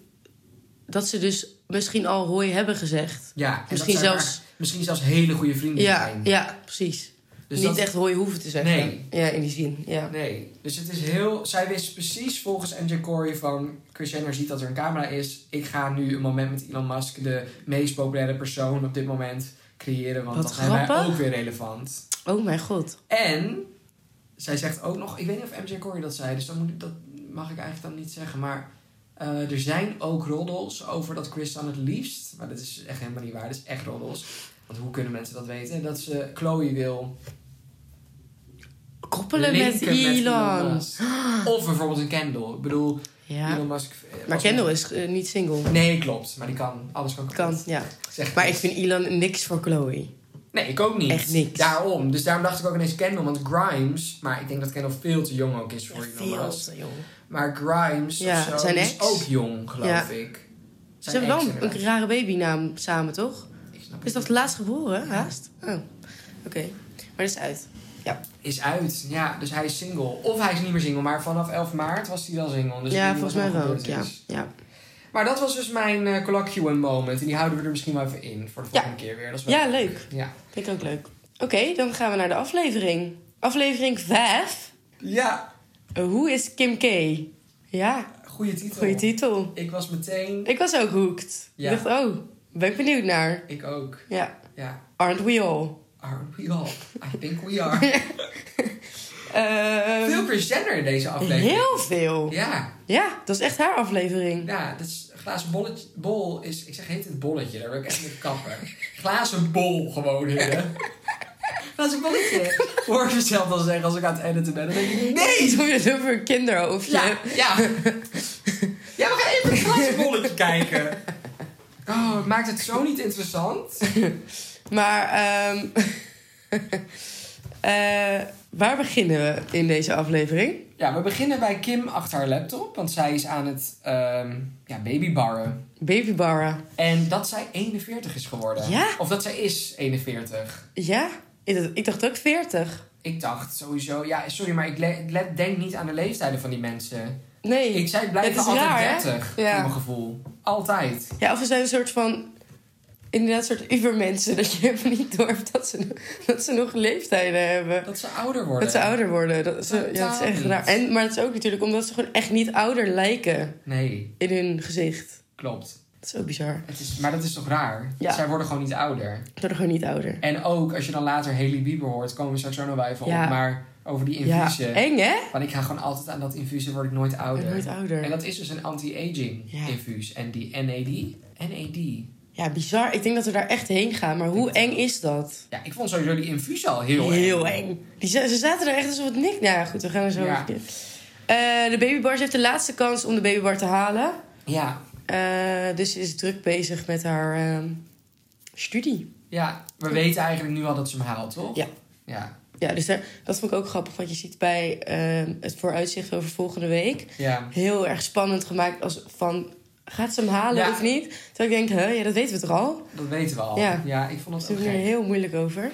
[SPEAKER 2] dat ze dus misschien al hooi hebben gezegd.
[SPEAKER 1] ja, en
[SPEAKER 2] misschien
[SPEAKER 1] dat zijn
[SPEAKER 2] zelfs-
[SPEAKER 1] maar- misschien zelfs hele goede vrienden
[SPEAKER 2] Ja,
[SPEAKER 1] zijn.
[SPEAKER 2] ja, precies.
[SPEAKER 1] Dus
[SPEAKER 2] niet
[SPEAKER 1] dat-
[SPEAKER 2] echt hooi hoeven te zeggen.
[SPEAKER 1] Nee.
[SPEAKER 2] Ja, in die zin. Ja.
[SPEAKER 1] Nee, dus het is heel... Zij wist precies volgens MJ Corey van... Chris Jenner ziet dat er een camera is. Ik ga nu een moment met Elon Musk, de meest populaire persoon op dit moment, creëren. Want
[SPEAKER 2] Wat
[SPEAKER 1] dan zijn wij
[SPEAKER 2] grappig.
[SPEAKER 1] ook weer relevant.
[SPEAKER 2] Oh mijn god.
[SPEAKER 1] En zij zegt ook nog... Ik weet niet of MJ Corey dat zei, dus dat, moet, ik- dat mag ik eigenlijk dan niet zeggen. Maar eh, er zijn ook roddels over dat Chris dan het liefst... Maar dat is echt helemaal niet waar. Dat is echt roddels. Want hoe kunnen mensen dat weten? Dat ze Chloe wil
[SPEAKER 2] Koppelen met
[SPEAKER 1] linken
[SPEAKER 2] Elon.
[SPEAKER 1] Musk. Of bijvoorbeeld een Kendall. Ik bedoel,
[SPEAKER 2] Ja.
[SPEAKER 1] Elon Musk...
[SPEAKER 2] Maar Kendall is eh, niet single.
[SPEAKER 1] Nee, klopt. Maar die kan. Alles kan kapot.
[SPEAKER 2] Kan, ja.
[SPEAKER 1] Zegt
[SPEAKER 2] Maar ik
[SPEAKER 1] niks.
[SPEAKER 2] vind Elon niks voor Chloe.
[SPEAKER 1] Nee, ik ook niet.
[SPEAKER 2] Echt niks.
[SPEAKER 1] Daarom. Dus daarom dacht ik ook ineens Kendall. Want Grimes... Maar ik denk dat Kendall veel te jong ook is voor Elon Musk.
[SPEAKER 2] te jong.
[SPEAKER 1] Maar Grimes
[SPEAKER 2] Ja,
[SPEAKER 1] of zo,
[SPEAKER 2] zijn
[SPEAKER 1] die
[SPEAKER 2] ex.
[SPEAKER 1] is ook jong, geloof
[SPEAKER 2] Ja.
[SPEAKER 1] ik.
[SPEAKER 2] Ze
[SPEAKER 1] Zijn
[SPEAKER 2] hebben wel
[SPEAKER 1] ex,
[SPEAKER 2] een- een
[SPEAKER 1] inderdaad.
[SPEAKER 2] rare babynaam samen, toch?
[SPEAKER 1] Ik snap
[SPEAKER 2] Is
[SPEAKER 1] het
[SPEAKER 2] dat laatst geboren, haast? Oh, oké. Maar dat is uit.
[SPEAKER 1] niet. Is uit. Ja, dus hij is single. Of hij is niet meer single. Maar vanaf 11 maart was hij wel single. Dus ik
[SPEAKER 2] ja,
[SPEAKER 1] weet niet wat
[SPEAKER 2] volgens mij
[SPEAKER 1] er nog
[SPEAKER 2] wel.
[SPEAKER 1] gebeurd
[SPEAKER 2] Ja.
[SPEAKER 1] is.
[SPEAKER 2] ja.
[SPEAKER 1] Maar dat was dus mijn eh colloquium moment. En die houden we er misschien wel even in voor de
[SPEAKER 2] Ja.
[SPEAKER 1] volgende keer weer. Dat is wel
[SPEAKER 2] ja, leuk.
[SPEAKER 1] Ja.
[SPEAKER 2] Vind ik ook leuk. Oké, dan gaan we naar de aflevering. Aflevering 5.
[SPEAKER 1] Ja,
[SPEAKER 2] Hoe is Kim K? Ja,
[SPEAKER 1] goede titel.
[SPEAKER 2] goede titel.
[SPEAKER 1] Ik was meteen...
[SPEAKER 2] Ik was ook hooked.
[SPEAKER 1] Ja.
[SPEAKER 2] Ik dacht, oh, ben ik benieuwd naar.
[SPEAKER 1] Ik ook.
[SPEAKER 2] Ja,
[SPEAKER 1] Ja.
[SPEAKER 2] aren't we all?
[SPEAKER 1] Are we all? I think we are.
[SPEAKER 2] Ehm,
[SPEAKER 1] Veel Chris Jenner in deze aflevering.
[SPEAKER 2] heel veel.
[SPEAKER 1] Ja.
[SPEAKER 2] Ja, dat is echt haar aflevering.
[SPEAKER 1] Ja, dat is... Glazen bolletje, bol is... Ik zeg, heet het bolletje? Daar wil ik echt mee kappen. Glazen bol gewoon, heren. Glazen bolletje. Hoor ik mezelf al zeggen als ik aan het editen ben. Dan denk ik, nee!
[SPEAKER 2] Alsof je het over een kinderhoofdje
[SPEAKER 1] Ja,
[SPEAKER 2] hebt.
[SPEAKER 1] ja. Ja, we gaan even een glazen bolletje kijken. Oh, het maakt het zo niet interessant.
[SPEAKER 2] Maar ehm, eh, waar beginnen we in deze aflevering?
[SPEAKER 1] Ja, we beginnen bij Kim achter haar laptop, want zij is aan het ehm ja, babybarren.
[SPEAKER 2] Baby Bara.
[SPEAKER 1] En dat zij 41 is geworden.
[SPEAKER 2] Ja?
[SPEAKER 1] Of dat zij is 41.
[SPEAKER 2] Ja, ik dacht- ik dacht ook 40.
[SPEAKER 1] ik dacht sowieso, ja, sorry, maar ik le- le- denk niet aan de leeftijden van die mensen.
[SPEAKER 2] Nee.
[SPEAKER 1] Ik, zij blijven
[SPEAKER 2] Het is
[SPEAKER 1] altijd
[SPEAKER 2] raar, hè?
[SPEAKER 1] 30,
[SPEAKER 2] Ja.
[SPEAKER 1] voor mijn gevoel. Altijd.
[SPEAKER 2] Ja, of ze zijn een soort van... Inderdaad, een soort ubermensen. Dat je even niet doorhebt dat ze, dat ze nog leeftijden hebben.
[SPEAKER 1] Dat ze ouder worden.
[SPEAKER 2] Dat ze ouder worden. Dat, ze, ja, dat is echt
[SPEAKER 1] Totaal
[SPEAKER 2] raar.
[SPEAKER 1] niet.
[SPEAKER 2] En, maar dat is ook natuurlijk omdat ze gewoon echt niet ouder lijken
[SPEAKER 1] Nee,
[SPEAKER 2] in hun gezicht.
[SPEAKER 1] klopt.
[SPEAKER 2] Dat is ook bizar.
[SPEAKER 1] Het is, maar dat is toch raar?
[SPEAKER 2] Ja.
[SPEAKER 1] Zij worden gewoon niet ouder.
[SPEAKER 2] Ze worden gewoon niet ouder.
[SPEAKER 1] En ook, als je dan later Haley Bieber hoort, komen we straks ook nog wel even
[SPEAKER 2] Ja.
[SPEAKER 1] op. Maar over die
[SPEAKER 2] Ja,
[SPEAKER 1] infusie.
[SPEAKER 2] eng hè?
[SPEAKER 1] Want ik ga gewoon altijd aan dat infuus, dan word ik nooit
[SPEAKER 2] Ik
[SPEAKER 1] ouder.
[SPEAKER 2] ben nooit ouder.
[SPEAKER 1] En dat is dus een anti-aging
[SPEAKER 2] Ja.
[SPEAKER 1] infuus. En die NAD? NAD.
[SPEAKER 2] Ja, bizar. Ik denk dat we daar echt heen gaan. Maar hoe eng is dat?
[SPEAKER 1] Ja, ik vond sowieso die infuus al heel,
[SPEAKER 2] Heel eng. Die, za- ze zaten er echt alsof het niks... Nou ja, goed, we gaan er zo
[SPEAKER 1] Ja.
[SPEAKER 2] over. Eh, de babybars heeft de laatste kans om de babybar te halen.
[SPEAKER 1] Ja,
[SPEAKER 2] Eh, dus ze is druk bezig met haar ehm, studie.
[SPEAKER 1] ja, we weten eigenlijk nu al dat ze hem haalt, toch?
[SPEAKER 2] Ja.
[SPEAKER 1] Ja,
[SPEAKER 2] Ja, dus daar, dat vond ik ook grappig. Want je ziet bij ehm, het vooruitzicht over volgende week...
[SPEAKER 1] ja.
[SPEAKER 2] heel erg spannend gemaakt als van gaat ze hem halen
[SPEAKER 1] Ja.
[SPEAKER 2] of niet? Terwijl ik denk, hè, ja, dat weten we toch al?
[SPEAKER 1] dat weten we al.
[SPEAKER 2] Ja.
[SPEAKER 1] ik vond
[SPEAKER 2] Ze
[SPEAKER 1] dat ook
[SPEAKER 2] doen er
[SPEAKER 1] gek.
[SPEAKER 2] heel moeilijk over.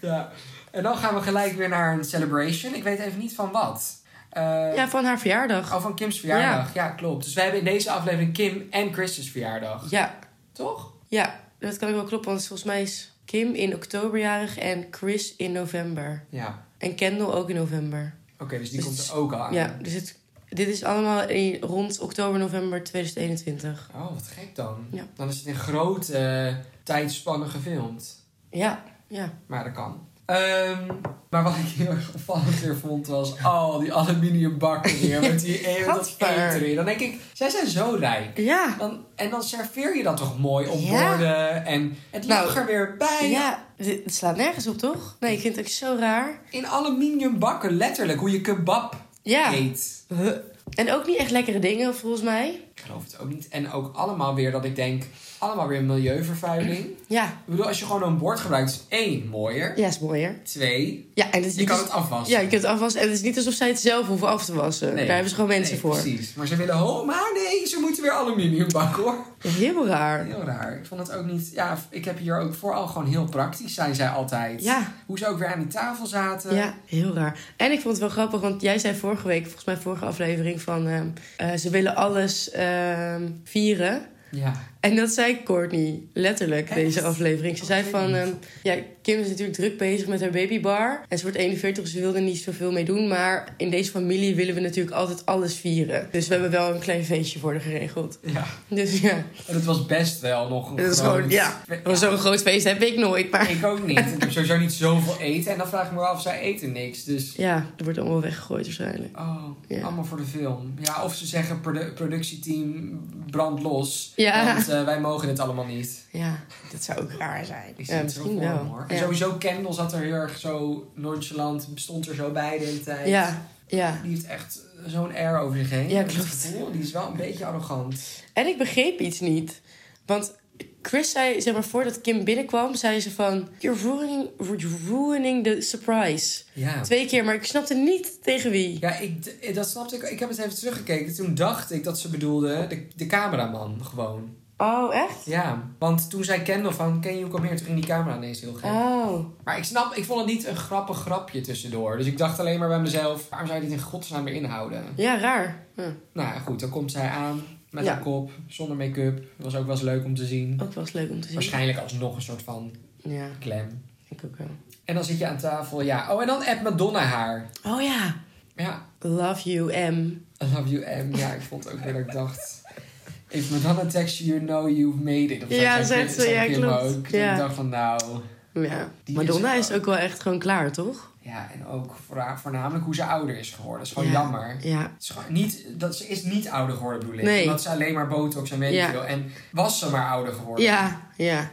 [SPEAKER 1] Ja. En dan gaan we gelijk weer naar een celebration. Ik weet even niet van wat. Eh,
[SPEAKER 2] Ja, van haar verjaardag.
[SPEAKER 1] Oh, van Kim's verjaardag. Ja. klopt. Dus wij hebben in deze aflevering Kim en Chris's verjaardag.
[SPEAKER 2] Ja,
[SPEAKER 1] Toch?
[SPEAKER 2] ja, dat kan ik wel kloppen, want volgens mij is Kim in oktober jarig en Chris in november.
[SPEAKER 1] Ja.
[SPEAKER 2] En Kendall ook in november.
[SPEAKER 1] Oké, dus die
[SPEAKER 2] Dus
[SPEAKER 1] komt
[SPEAKER 2] het
[SPEAKER 1] er ook al aan.
[SPEAKER 2] Ja, dus het, dit is allemaal in, rond oktober, november 2021.
[SPEAKER 1] Oh, wat gek dan.
[SPEAKER 2] Ja.
[SPEAKER 1] Dan is het in grote eh, tijdspannen gefilmd.
[SPEAKER 2] Ja, ja.
[SPEAKER 1] Maar dat kan. Ehm, maar wat ik heel erg opvallend weer vond was... Oh, die aluminium bakken weer met die eeuw dat
[SPEAKER 2] Gadver.
[SPEAKER 1] eten erin. Dan denk ik, zij zijn zo rijk.
[SPEAKER 2] Ja,
[SPEAKER 1] Dan, en dan serveer je dat toch mooi op
[SPEAKER 2] Ja.
[SPEAKER 1] borden. En het
[SPEAKER 2] Nou,
[SPEAKER 1] lag er weer bij.
[SPEAKER 2] ja. dit- Het slaat nergens op, toch? Nee, ik vind het ook zo raar.
[SPEAKER 1] In aluminium bakken, letterlijk. Hoe je kebab
[SPEAKER 2] Ja.
[SPEAKER 1] eet.
[SPEAKER 2] Huh. En ook niet echt lekkere dingen, volgens mij.
[SPEAKER 1] Ik geloof het ook niet. En ook allemaal weer dat ik denk... Allemaal weer milieuvervuiling.
[SPEAKER 2] Ja,
[SPEAKER 1] Ik bedoel, als je gewoon een bord gebruikt... is één, mooier.
[SPEAKER 2] ja, is mooier.
[SPEAKER 1] Twee,
[SPEAKER 2] Ja, en het is
[SPEAKER 1] je
[SPEAKER 2] niet
[SPEAKER 1] kan
[SPEAKER 2] als-
[SPEAKER 1] het afwassen.
[SPEAKER 2] Ja, je kunt het afwassen. En het is niet alsof zij het zelf hoeven af te wassen. Daar hebben ze gewoon mensen
[SPEAKER 1] nee,
[SPEAKER 2] voor.
[SPEAKER 1] Precies. Maar ze willen, oh, maar nee, ze moeten weer aluminium bakken hoor.
[SPEAKER 2] Heel raar.
[SPEAKER 1] Heel raar. Ik vond het ook niet. Ja, ik heb hier ook vooral gewoon heel praktisch zijn zij altijd.
[SPEAKER 2] Ja.
[SPEAKER 1] Hoe ze ook weer aan die tafel zaten.
[SPEAKER 2] Ja, heel raar. En ik vond het wel grappig, want jij zei vorige week, volgens mij vorige aflevering, van ehm, eh, ze willen alles ehm, vieren.
[SPEAKER 1] Ja.
[SPEAKER 2] En dat zei Courtney letterlijk
[SPEAKER 1] Echt?
[SPEAKER 2] deze aflevering. Ze
[SPEAKER 1] Oh,
[SPEAKER 2] zei
[SPEAKER 1] ik
[SPEAKER 2] van,
[SPEAKER 1] weet
[SPEAKER 2] ehm, ja, Kim is natuurlijk druk bezig met haar babybar. En ze wordt 41, dus ze wilde niet zoveel mee doen. Maar in deze familie willen we natuurlijk altijd alles vieren. Dus we hebben wel een klein feestje voor haar geregeld.
[SPEAKER 1] ja.
[SPEAKER 2] Dus ja,
[SPEAKER 1] En het was best wel nog een
[SPEAKER 2] dat is gewoon, ja. Want Zo'n groot feest heb ik nooit, maar...
[SPEAKER 1] Ik ook niet. Ik heb sowieso niet zoveel eten. En dan vraag ik me wel af, zij eten niks. Dus.
[SPEAKER 2] Ja, er wordt allemaal weggegooid waarschijnlijk.
[SPEAKER 1] Oh,
[SPEAKER 2] Ja.
[SPEAKER 1] allemaal voor de film. Ja, of ze zeggen produ- productieteam brand los.
[SPEAKER 2] Ja.
[SPEAKER 1] Want eh, wij mogen dit allemaal niet.
[SPEAKER 2] Ja, dat zou ook raar zijn.
[SPEAKER 1] Ik zie
[SPEAKER 2] ja,
[SPEAKER 1] het zo voor
[SPEAKER 2] misschien
[SPEAKER 1] me,
[SPEAKER 2] wel.
[SPEAKER 1] hoor. En
[SPEAKER 2] Ja.
[SPEAKER 1] sowieso Kendall zat er heel erg zo nonchalant, stond er zo bij de hele tijd.
[SPEAKER 2] ja, ja.
[SPEAKER 1] Die heeft echt zo'n air over zich heen.
[SPEAKER 2] Ja,
[SPEAKER 1] Ik heb het
[SPEAKER 2] klopt.
[SPEAKER 1] gevoel, die is wel een beetje arrogant.
[SPEAKER 2] En ik begreep iets niet. Want Chris zei, zeg maar, voordat Kim binnenkwam, zei ze van... You're ruining, you're ruining the surprise.
[SPEAKER 1] Ja.
[SPEAKER 2] Twee keer, maar ik snapte niet tegen wie.
[SPEAKER 1] Ja, ik, eh, dat snapte ik. Ik heb het even teruggekeken. Toen dacht ik dat ze bedoelde de, de cameraman gewoon.
[SPEAKER 2] Oh, echt?
[SPEAKER 1] Ja, want toen zei Kendall van, ken je kom hier? Toen ging die camera ineens heel gek.
[SPEAKER 2] Oh.
[SPEAKER 1] Maar ik snap, ik vond het niet een grappig grapje tussendoor. Dus ik dacht alleen maar bij mezelf, waarom zou je dit in godsnaam weer inhouden?
[SPEAKER 2] Ja, raar. Hm.
[SPEAKER 1] Nou ja, goed, dan komt zij aan met
[SPEAKER 2] Ja.
[SPEAKER 1] haar kop, zonder make-up. Dat was ook wel eens leuk om te zien.
[SPEAKER 2] Ook wel eens leuk om te zien.
[SPEAKER 1] Waarschijnlijk alsnog een soort van
[SPEAKER 2] Ja,
[SPEAKER 1] klem.
[SPEAKER 2] ik ook wel.
[SPEAKER 1] En dan zit je aan tafel, ja. Oh, en dan app Madonna haar.
[SPEAKER 2] Oh ja.
[SPEAKER 1] Ja,
[SPEAKER 2] Love you, M.
[SPEAKER 1] I love you, M. Ja, ik vond ook weer dat ik dacht... If Madonna texts you, you know you've made it. Of zo,
[SPEAKER 2] Ja,
[SPEAKER 1] zo
[SPEAKER 2] zegt ze,
[SPEAKER 1] zo
[SPEAKER 2] ja,
[SPEAKER 1] Kim
[SPEAKER 2] klopt.
[SPEAKER 1] Ook. Dus
[SPEAKER 2] Ja.
[SPEAKER 1] Ik dacht van, nou...
[SPEAKER 2] Ja.
[SPEAKER 1] Die
[SPEAKER 2] Madonna
[SPEAKER 1] is-
[SPEAKER 2] is ook wel echt gewoon klaar, toch?
[SPEAKER 1] Ja, en ook voorna- voornamelijk hoe ze ouder is geworden. Dat is gewoon
[SPEAKER 2] Ja.
[SPEAKER 1] Oh, jammer.
[SPEAKER 2] Ja,
[SPEAKER 1] Het is gewoon niet, dat ze is niet ouder geworden, bedoel ik.
[SPEAKER 2] Nee.
[SPEAKER 1] Omdat ze alleen maar botox en weet ik
[SPEAKER 2] Ja.
[SPEAKER 1] veel. En was ze maar ouder geworden,
[SPEAKER 2] Ja, ja.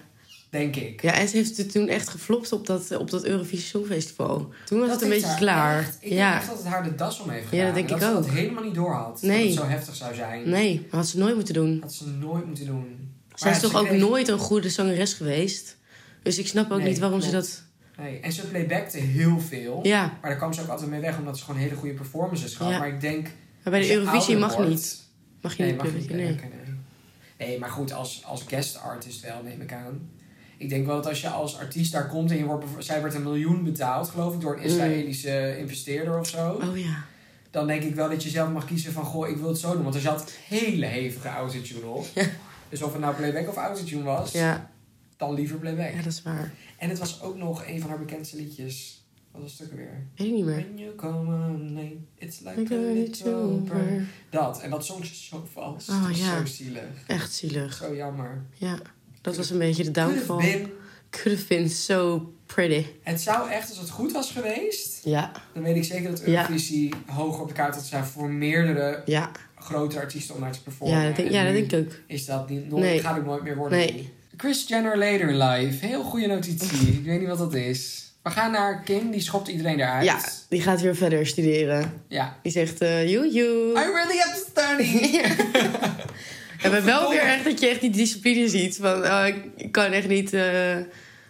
[SPEAKER 1] denk ik.
[SPEAKER 2] Ja, en ze heeft het toen echt geflopt op dat, op dat Eurovisie Songfestival. Toen was het
[SPEAKER 1] Dat
[SPEAKER 2] een
[SPEAKER 1] ik
[SPEAKER 2] beetje
[SPEAKER 1] daar
[SPEAKER 2] klaar.
[SPEAKER 1] echt- ik denk
[SPEAKER 2] ja.
[SPEAKER 1] echt dat het haar de das om heeft
[SPEAKER 2] Ja, dat
[SPEAKER 1] gedaan.
[SPEAKER 2] denk
[SPEAKER 1] dat
[SPEAKER 2] ik
[SPEAKER 1] ze
[SPEAKER 2] ook.
[SPEAKER 1] dat helemaal niet door had.
[SPEAKER 2] Nee.
[SPEAKER 1] Dat het zo heftig zou zijn.
[SPEAKER 2] Nee, dat had ze nooit moeten doen.
[SPEAKER 1] Had ze nooit moeten doen.
[SPEAKER 2] Zij
[SPEAKER 1] Maar
[SPEAKER 2] is
[SPEAKER 1] ja,
[SPEAKER 2] toch
[SPEAKER 1] ze
[SPEAKER 2] ook
[SPEAKER 1] kreeg-
[SPEAKER 2] nooit een goede zangeres geweest. Dus ik snap ook
[SPEAKER 1] Nee,
[SPEAKER 2] niet waarom ze
[SPEAKER 1] klopt.
[SPEAKER 2] dat.
[SPEAKER 1] Nee. En ze playbackte heel veel.
[SPEAKER 2] Ja,
[SPEAKER 1] Maar daar kwam ze ook altijd mee weg, omdat ze gewoon hele goede performances gaf.
[SPEAKER 2] Ja.
[SPEAKER 1] Maar ik denk...
[SPEAKER 2] maar bij
[SPEAKER 1] als
[SPEAKER 2] de
[SPEAKER 1] je
[SPEAKER 2] Eurovisie
[SPEAKER 1] ouder
[SPEAKER 2] mag
[SPEAKER 1] wordt-
[SPEAKER 2] niet. Mag je
[SPEAKER 1] Nee,
[SPEAKER 2] niet
[SPEAKER 1] mag niet.
[SPEAKER 2] publiek? Nee.
[SPEAKER 1] Nee, nee. nee, maar goed, als, als guest artist wel, neem ik aan. Ik denk wel dat als je als artiest daar komt en je wordt, bev- zij werd een miljoen betaald, geloof ik, door een Israëlische investeerder of zo.
[SPEAKER 2] Mm. Oh ja.
[SPEAKER 1] Dan denk ik wel dat je zelf mag kiezen van, goh, ik wil het zo doen. Want er zat hele hevige autotune op. Dus of het nou playback of autotune was,
[SPEAKER 2] ja.
[SPEAKER 1] dan liever playback.
[SPEAKER 2] Ja, dat is waar.
[SPEAKER 1] En het was ook nog een van haar bekendste liedjes. Wat was het ook weer?
[SPEAKER 2] Weet ik niet meer.
[SPEAKER 1] When you come on, nee, it's
[SPEAKER 2] Ik
[SPEAKER 1] like a
[SPEAKER 2] ben er niet
[SPEAKER 1] little
[SPEAKER 2] zo
[SPEAKER 1] bird.
[SPEAKER 2] over.
[SPEAKER 1] Dat, en dat zong ze zo vals.
[SPEAKER 2] Oh,
[SPEAKER 1] dat was
[SPEAKER 2] ja.
[SPEAKER 1] zo zielig.
[SPEAKER 2] Echt zielig.
[SPEAKER 1] Zo jammer.
[SPEAKER 2] Ja. Dat was een beetje de downfall.
[SPEAKER 1] Bin.
[SPEAKER 2] Could have been so pretty.
[SPEAKER 1] Het zou echt, als het goed was geweest,
[SPEAKER 2] Ja.
[SPEAKER 1] dan weet ik zeker dat
[SPEAKER 2] Ja.
[SPEAKER 1] Eurovisie hoger op de kaart had staan voor meerdere
[SPEAKER 2] Ja.
[SPEAKER 1] grote artiesten om naar te performen.
[SPEAKER 2] Ja, dat denk, ja,
[SPEAKER 1] En
[SPEAKER 2] dat
[SPEAKER 1] nu
[SPEAKER 2] denk ik ook.
[SPEAKER 1] Is dat niet, nooit,
[SPEAKER 2] Nee.
[SPEAKER 1] gaat het nooit meer worden.
[SPEAKER 2] Nee.
[SPEAKER 1] Chris Jenner later in life. Heel goede notitie. ik weet niet wat dat is. We gaan naar Kim, die schopt iedereen eruit.
[SPEAKER 2] Ja, die gaat weer verder studeren.
[SPEAKER 1] ja.
[SPEAKER 2] Die zegt, eh joe,
[SPEAKER 1] I
[SPEAKER 2] joe.
[SPEAKER 1] really am stunning.
[SPEAKER 2] En we wel weer echt dat je echt die discipline ziet. Van, oh, ik- ik kan echt niet... eh,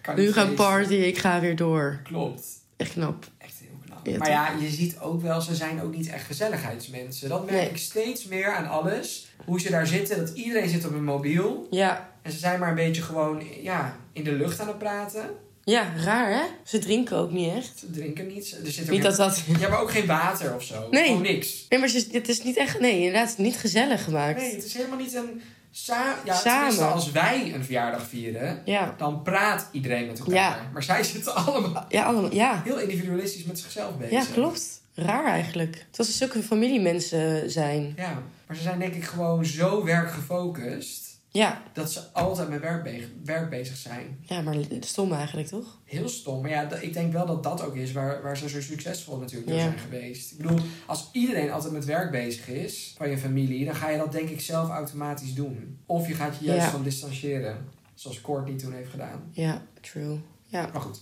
[SPEAKER 1] Kan
[SPEAKER 2] nu
[SPEAKER 1] niet
[SPEAKER 2] gaan
[SPEAKER 1] eens.
[SPEAKER 2] party, ik ga weer door.
[SPEAKER 1] Klopt.
[SPEAKER 2] Echt knap.
[SPEAKER 1] Echt heel knap.
[SPEAKER 2] Ja,
[SPEAKER 1] maar
[SPEAKER 2] toch?
[SPEAKER 1] ja, je ziet ook wel, ze zijn ook niet echt gezelligheidsmensen. Dat merk
[SPEAKER 2] Nee.
[SPEAKER 1] ik steeds meer aan alles. Hoe ze daar zitten, dat iedereen zit op een mobiel.
[SPEAKER 2] Ja.
[SPEAKER 1] En ze zijn maar een beetje gewoon ja, in de lucht aan het praten.
[SPEAKER 2] Ja, raar hè? Ze drinken ook niet echt.
[SPEAKER 1] Ze drinken niets. Er zit ook
[SPEAKER 2] Niet
[SPEAKER 1] geen-
[SPEAKER 2] dat dat...
[SPEAKER 1] Ja, maar ook geen water of zo.
[SPEAKER 2] Nee.
[SPEAKER 1] Gewoon niks.
[SPEAKER 2] Nee, maar ze- het is niet echt... Nee, inderdaad, niet gezellig gemaakt.
[SPEAKER 1] Nee, het is helemaal niet een... Sa ja,
[SPEAKER 2] Samen.
[SPEAKER 1] tenminste, als wij een verjaardag vieren,
[SPEAKER 2] Ja.
[SPEAKER 1] dan praat iedereen met elkaar.
[SPEAKER 2] Ja.
[SPEAKER 1] Maar zij zitten allemaal
[SPEAKER 2] Ja, allemaal... Ja.
[SPEAKER 1] heel individualistisch met zichzelf bezig.
[SPEAKER 2] Ja, klopt. Raar eigenlijk. Dat ze zulke familiemensen zijn.
[SPEAKER 1] Ja, maar ze zijn denk ik gewoon zo werkgefocust...
[SPEAKER 2] Ja.
[SPEAKER 1] dat ze altijd met werk, be- werk bezig zijn.
[SPEAKER 2] Ja, maar stom eigenlijk, toch?
[SPEAKER 1] Heel stom. Maar ja, d- ik denk wel dat dat ook is waar, waar ze zo succesvol natuurlijk door
[SPEAKER 2] Ja.
[SPEAKER 1] zijn geweest. Ik bedoel, als iedereen altijd met werk bezig is van je familie, dan ga je dat denk ik zelf automatisch doen. Of je gaat je juist
[SPEAKER 2] Ja.
[SPEAKER 1] van distancieren. Zoals Courtney toen heeft gedaan.
[SPEAKER 2] Ja, true. Ja. Oké,
[SPEAKER 1] Maar goed.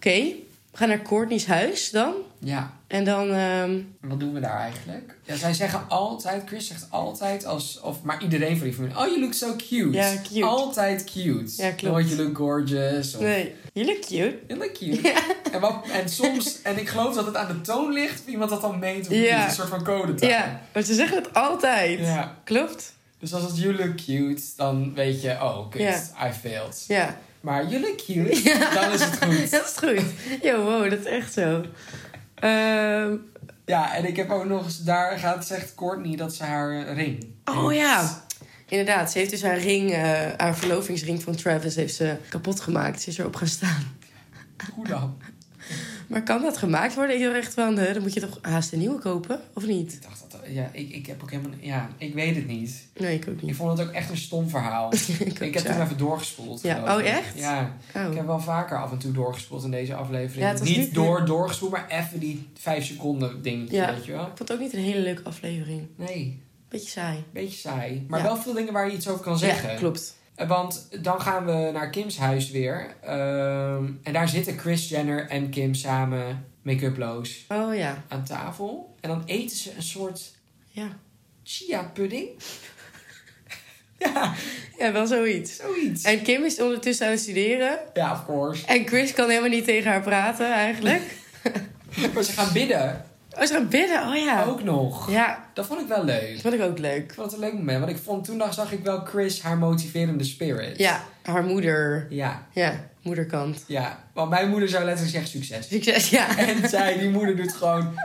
[SPEAKER 2] we gaan naar Courtney's huis dan.
[SPEAKER 1] Ja,
[SPEAKER 2] En dan... ehm,
[SPEAKER 1] en wat doen we daar eigenlijk? Ja, zij zeggen altijd, Chris zegt altijd, als, of, maar iedereen van die familie, oh, you look so cute.
[SPEAKER 2] Ja, cute.
[SPEAKER 1] Altijd cute.
[SPEAKER 2] Ja, klopt.
[SPEAKER 1] Nooit you look gorgeous. Of,
[SPEAKER 2] Nee, jullie cute.
[SPEAKER 1] Heel leuk cute. En, wat, en soms, en ik geloof dat het aan de toon ligt of iemand dat dan meet. Of
[SPEAKER 2] Ja.
[SPEAKER 1] niet, een soort van codetaal.
[SPEAKER 2] Ja, maar ze zeggen het altijd.
[SPEAKER 1] Ja.
[SPEAKER 2] Klopt.
[SPEAKER 1] Dus als het you look cute, dan weet je, oh, kut,
[SPEAKER 2] Ja.
[SPEAKER 1] I failed.
[SPEAKER 2] Ja.
[SPEAKER 1] Maar you look cute, dan is het goed.
[SPEAKER 2] Dat is goed. Yo, wow, dat is echt zo. Ehm,
[SPEAKER 1] Ja, en ik heb ook nog eens, daar gaat, zegt Courtney dat ze haar eh, ring.
[SPEAKER 2] oh ja. Inderdaad, ze heeft dus haar ring, eh, haar verlovingsring van Travis, heeft ze kapot gemaakt. Ze is erop gaan staan.
[SPEAKER 1] Hoe dan?
[SPEAKER 2] Maar kan dat gemaakt worden? Ik dacht echt van, eh, dan moet je toch haast een nieuwe kopen, of niet?
[SPEAKER 1] Ik dacht dat, ja, ik, ik heb ook helemaal, ja, ik weet het niet.
[SPEAKER 2] Nee, ik ook
[SPEAKER 1] Ik
[SPEAKER 2] niet.
[SPEAKER 1] vond het ook echt een stom verhaal.
[SPEAKER 2] ik ook,
[SPEAKER 1] Ik heb
[SPEAKER 2] ja.
[SPEAKER 1] toen even doorgespoeld.
[SPEAKER 2] Ja,
[SPEAKER 1] geloof
[SPEAKER 2] oh,
[SPEAKER 1] ik.
[SPEAKER 2] echt?
[SPEAKER 1] Ja. Ik
[SPEAKER 2] Oh.
[SPEAKER 1] heb wel vaker af en toe doorgespoeld in deze aflevering.
[SPEAKER 2] Ja, het was
[SPEAKER 1] niet
[SPEAKER 2] niet-
[SPEAKER 1] door doorgespoeld, maar even die vijf seconden dingetje,
[SPEAKER 2] Ja.
[SPEAKER 1] weet je wel.
[SPEAKER 2] Ik vond het ook niet een hele leuke aflevering.
[SPEAKER 1] Nee,
[SPEAKER 2] Beetje saai.
[SPEAKER 1] beetje saai. Maar
[SPEAKER 2] Ja.
[SPEAKER 1] wel veel dingen waar je iets over kan zeggen.
[SPEAKER 2] Ja, klopt.
[SPEAKER 1] Eh, Want dan gaan we naar Kim's huis weer. Ehm, en daar zitten Chris Jenner en Kim samen, make-uploos,
[SPEAKER 2] Oh ja,
[SPEAKER 1] aan tafel. En dan eten ze een soort
[SPEAKER 2] ja.
[SPEAKER 1] chia pudding. ja,
[SPEAKER 2] Ja, wel zoiets.
[SPEAKER 1] zoiets.
[SPEAKER 2] En Kim is ondertussen aan het studeren.
[SPEAKER 1] Ja, of course.
[SPEAKER 2] En Chris kan helemaal niet tegen haar praten eigenlijk.
[SPEAKER 1] Maar ze gaan bidden,
[SPEAKER 2] Oh, ze gaan bidden. Oh ja.
[SPEAKER 1] ook nog.
[SPEAKER 2] Ja,
[SPEAKER 1] Dat vond ik wel leuk.
[SPEAKER 2] dat vond ik ook leuk.
[SPEAKER 1] Ik vond het een leuk moment, want ik vond toen dag zag ik wel Chris haar motiverende spirit.
[SPEAKER 2] Ja, haar moeder.
[SPEAKER 1] Ja,
[SPEAKER 2] Ja, moederkant.
[SPEAKER 1] ja. Want mijn moeder zou letterlijk zeggen succes.
[SPEAKER 2] Succes, ja.
[SPEAKER 1] En zij, die moeder doet gewoon...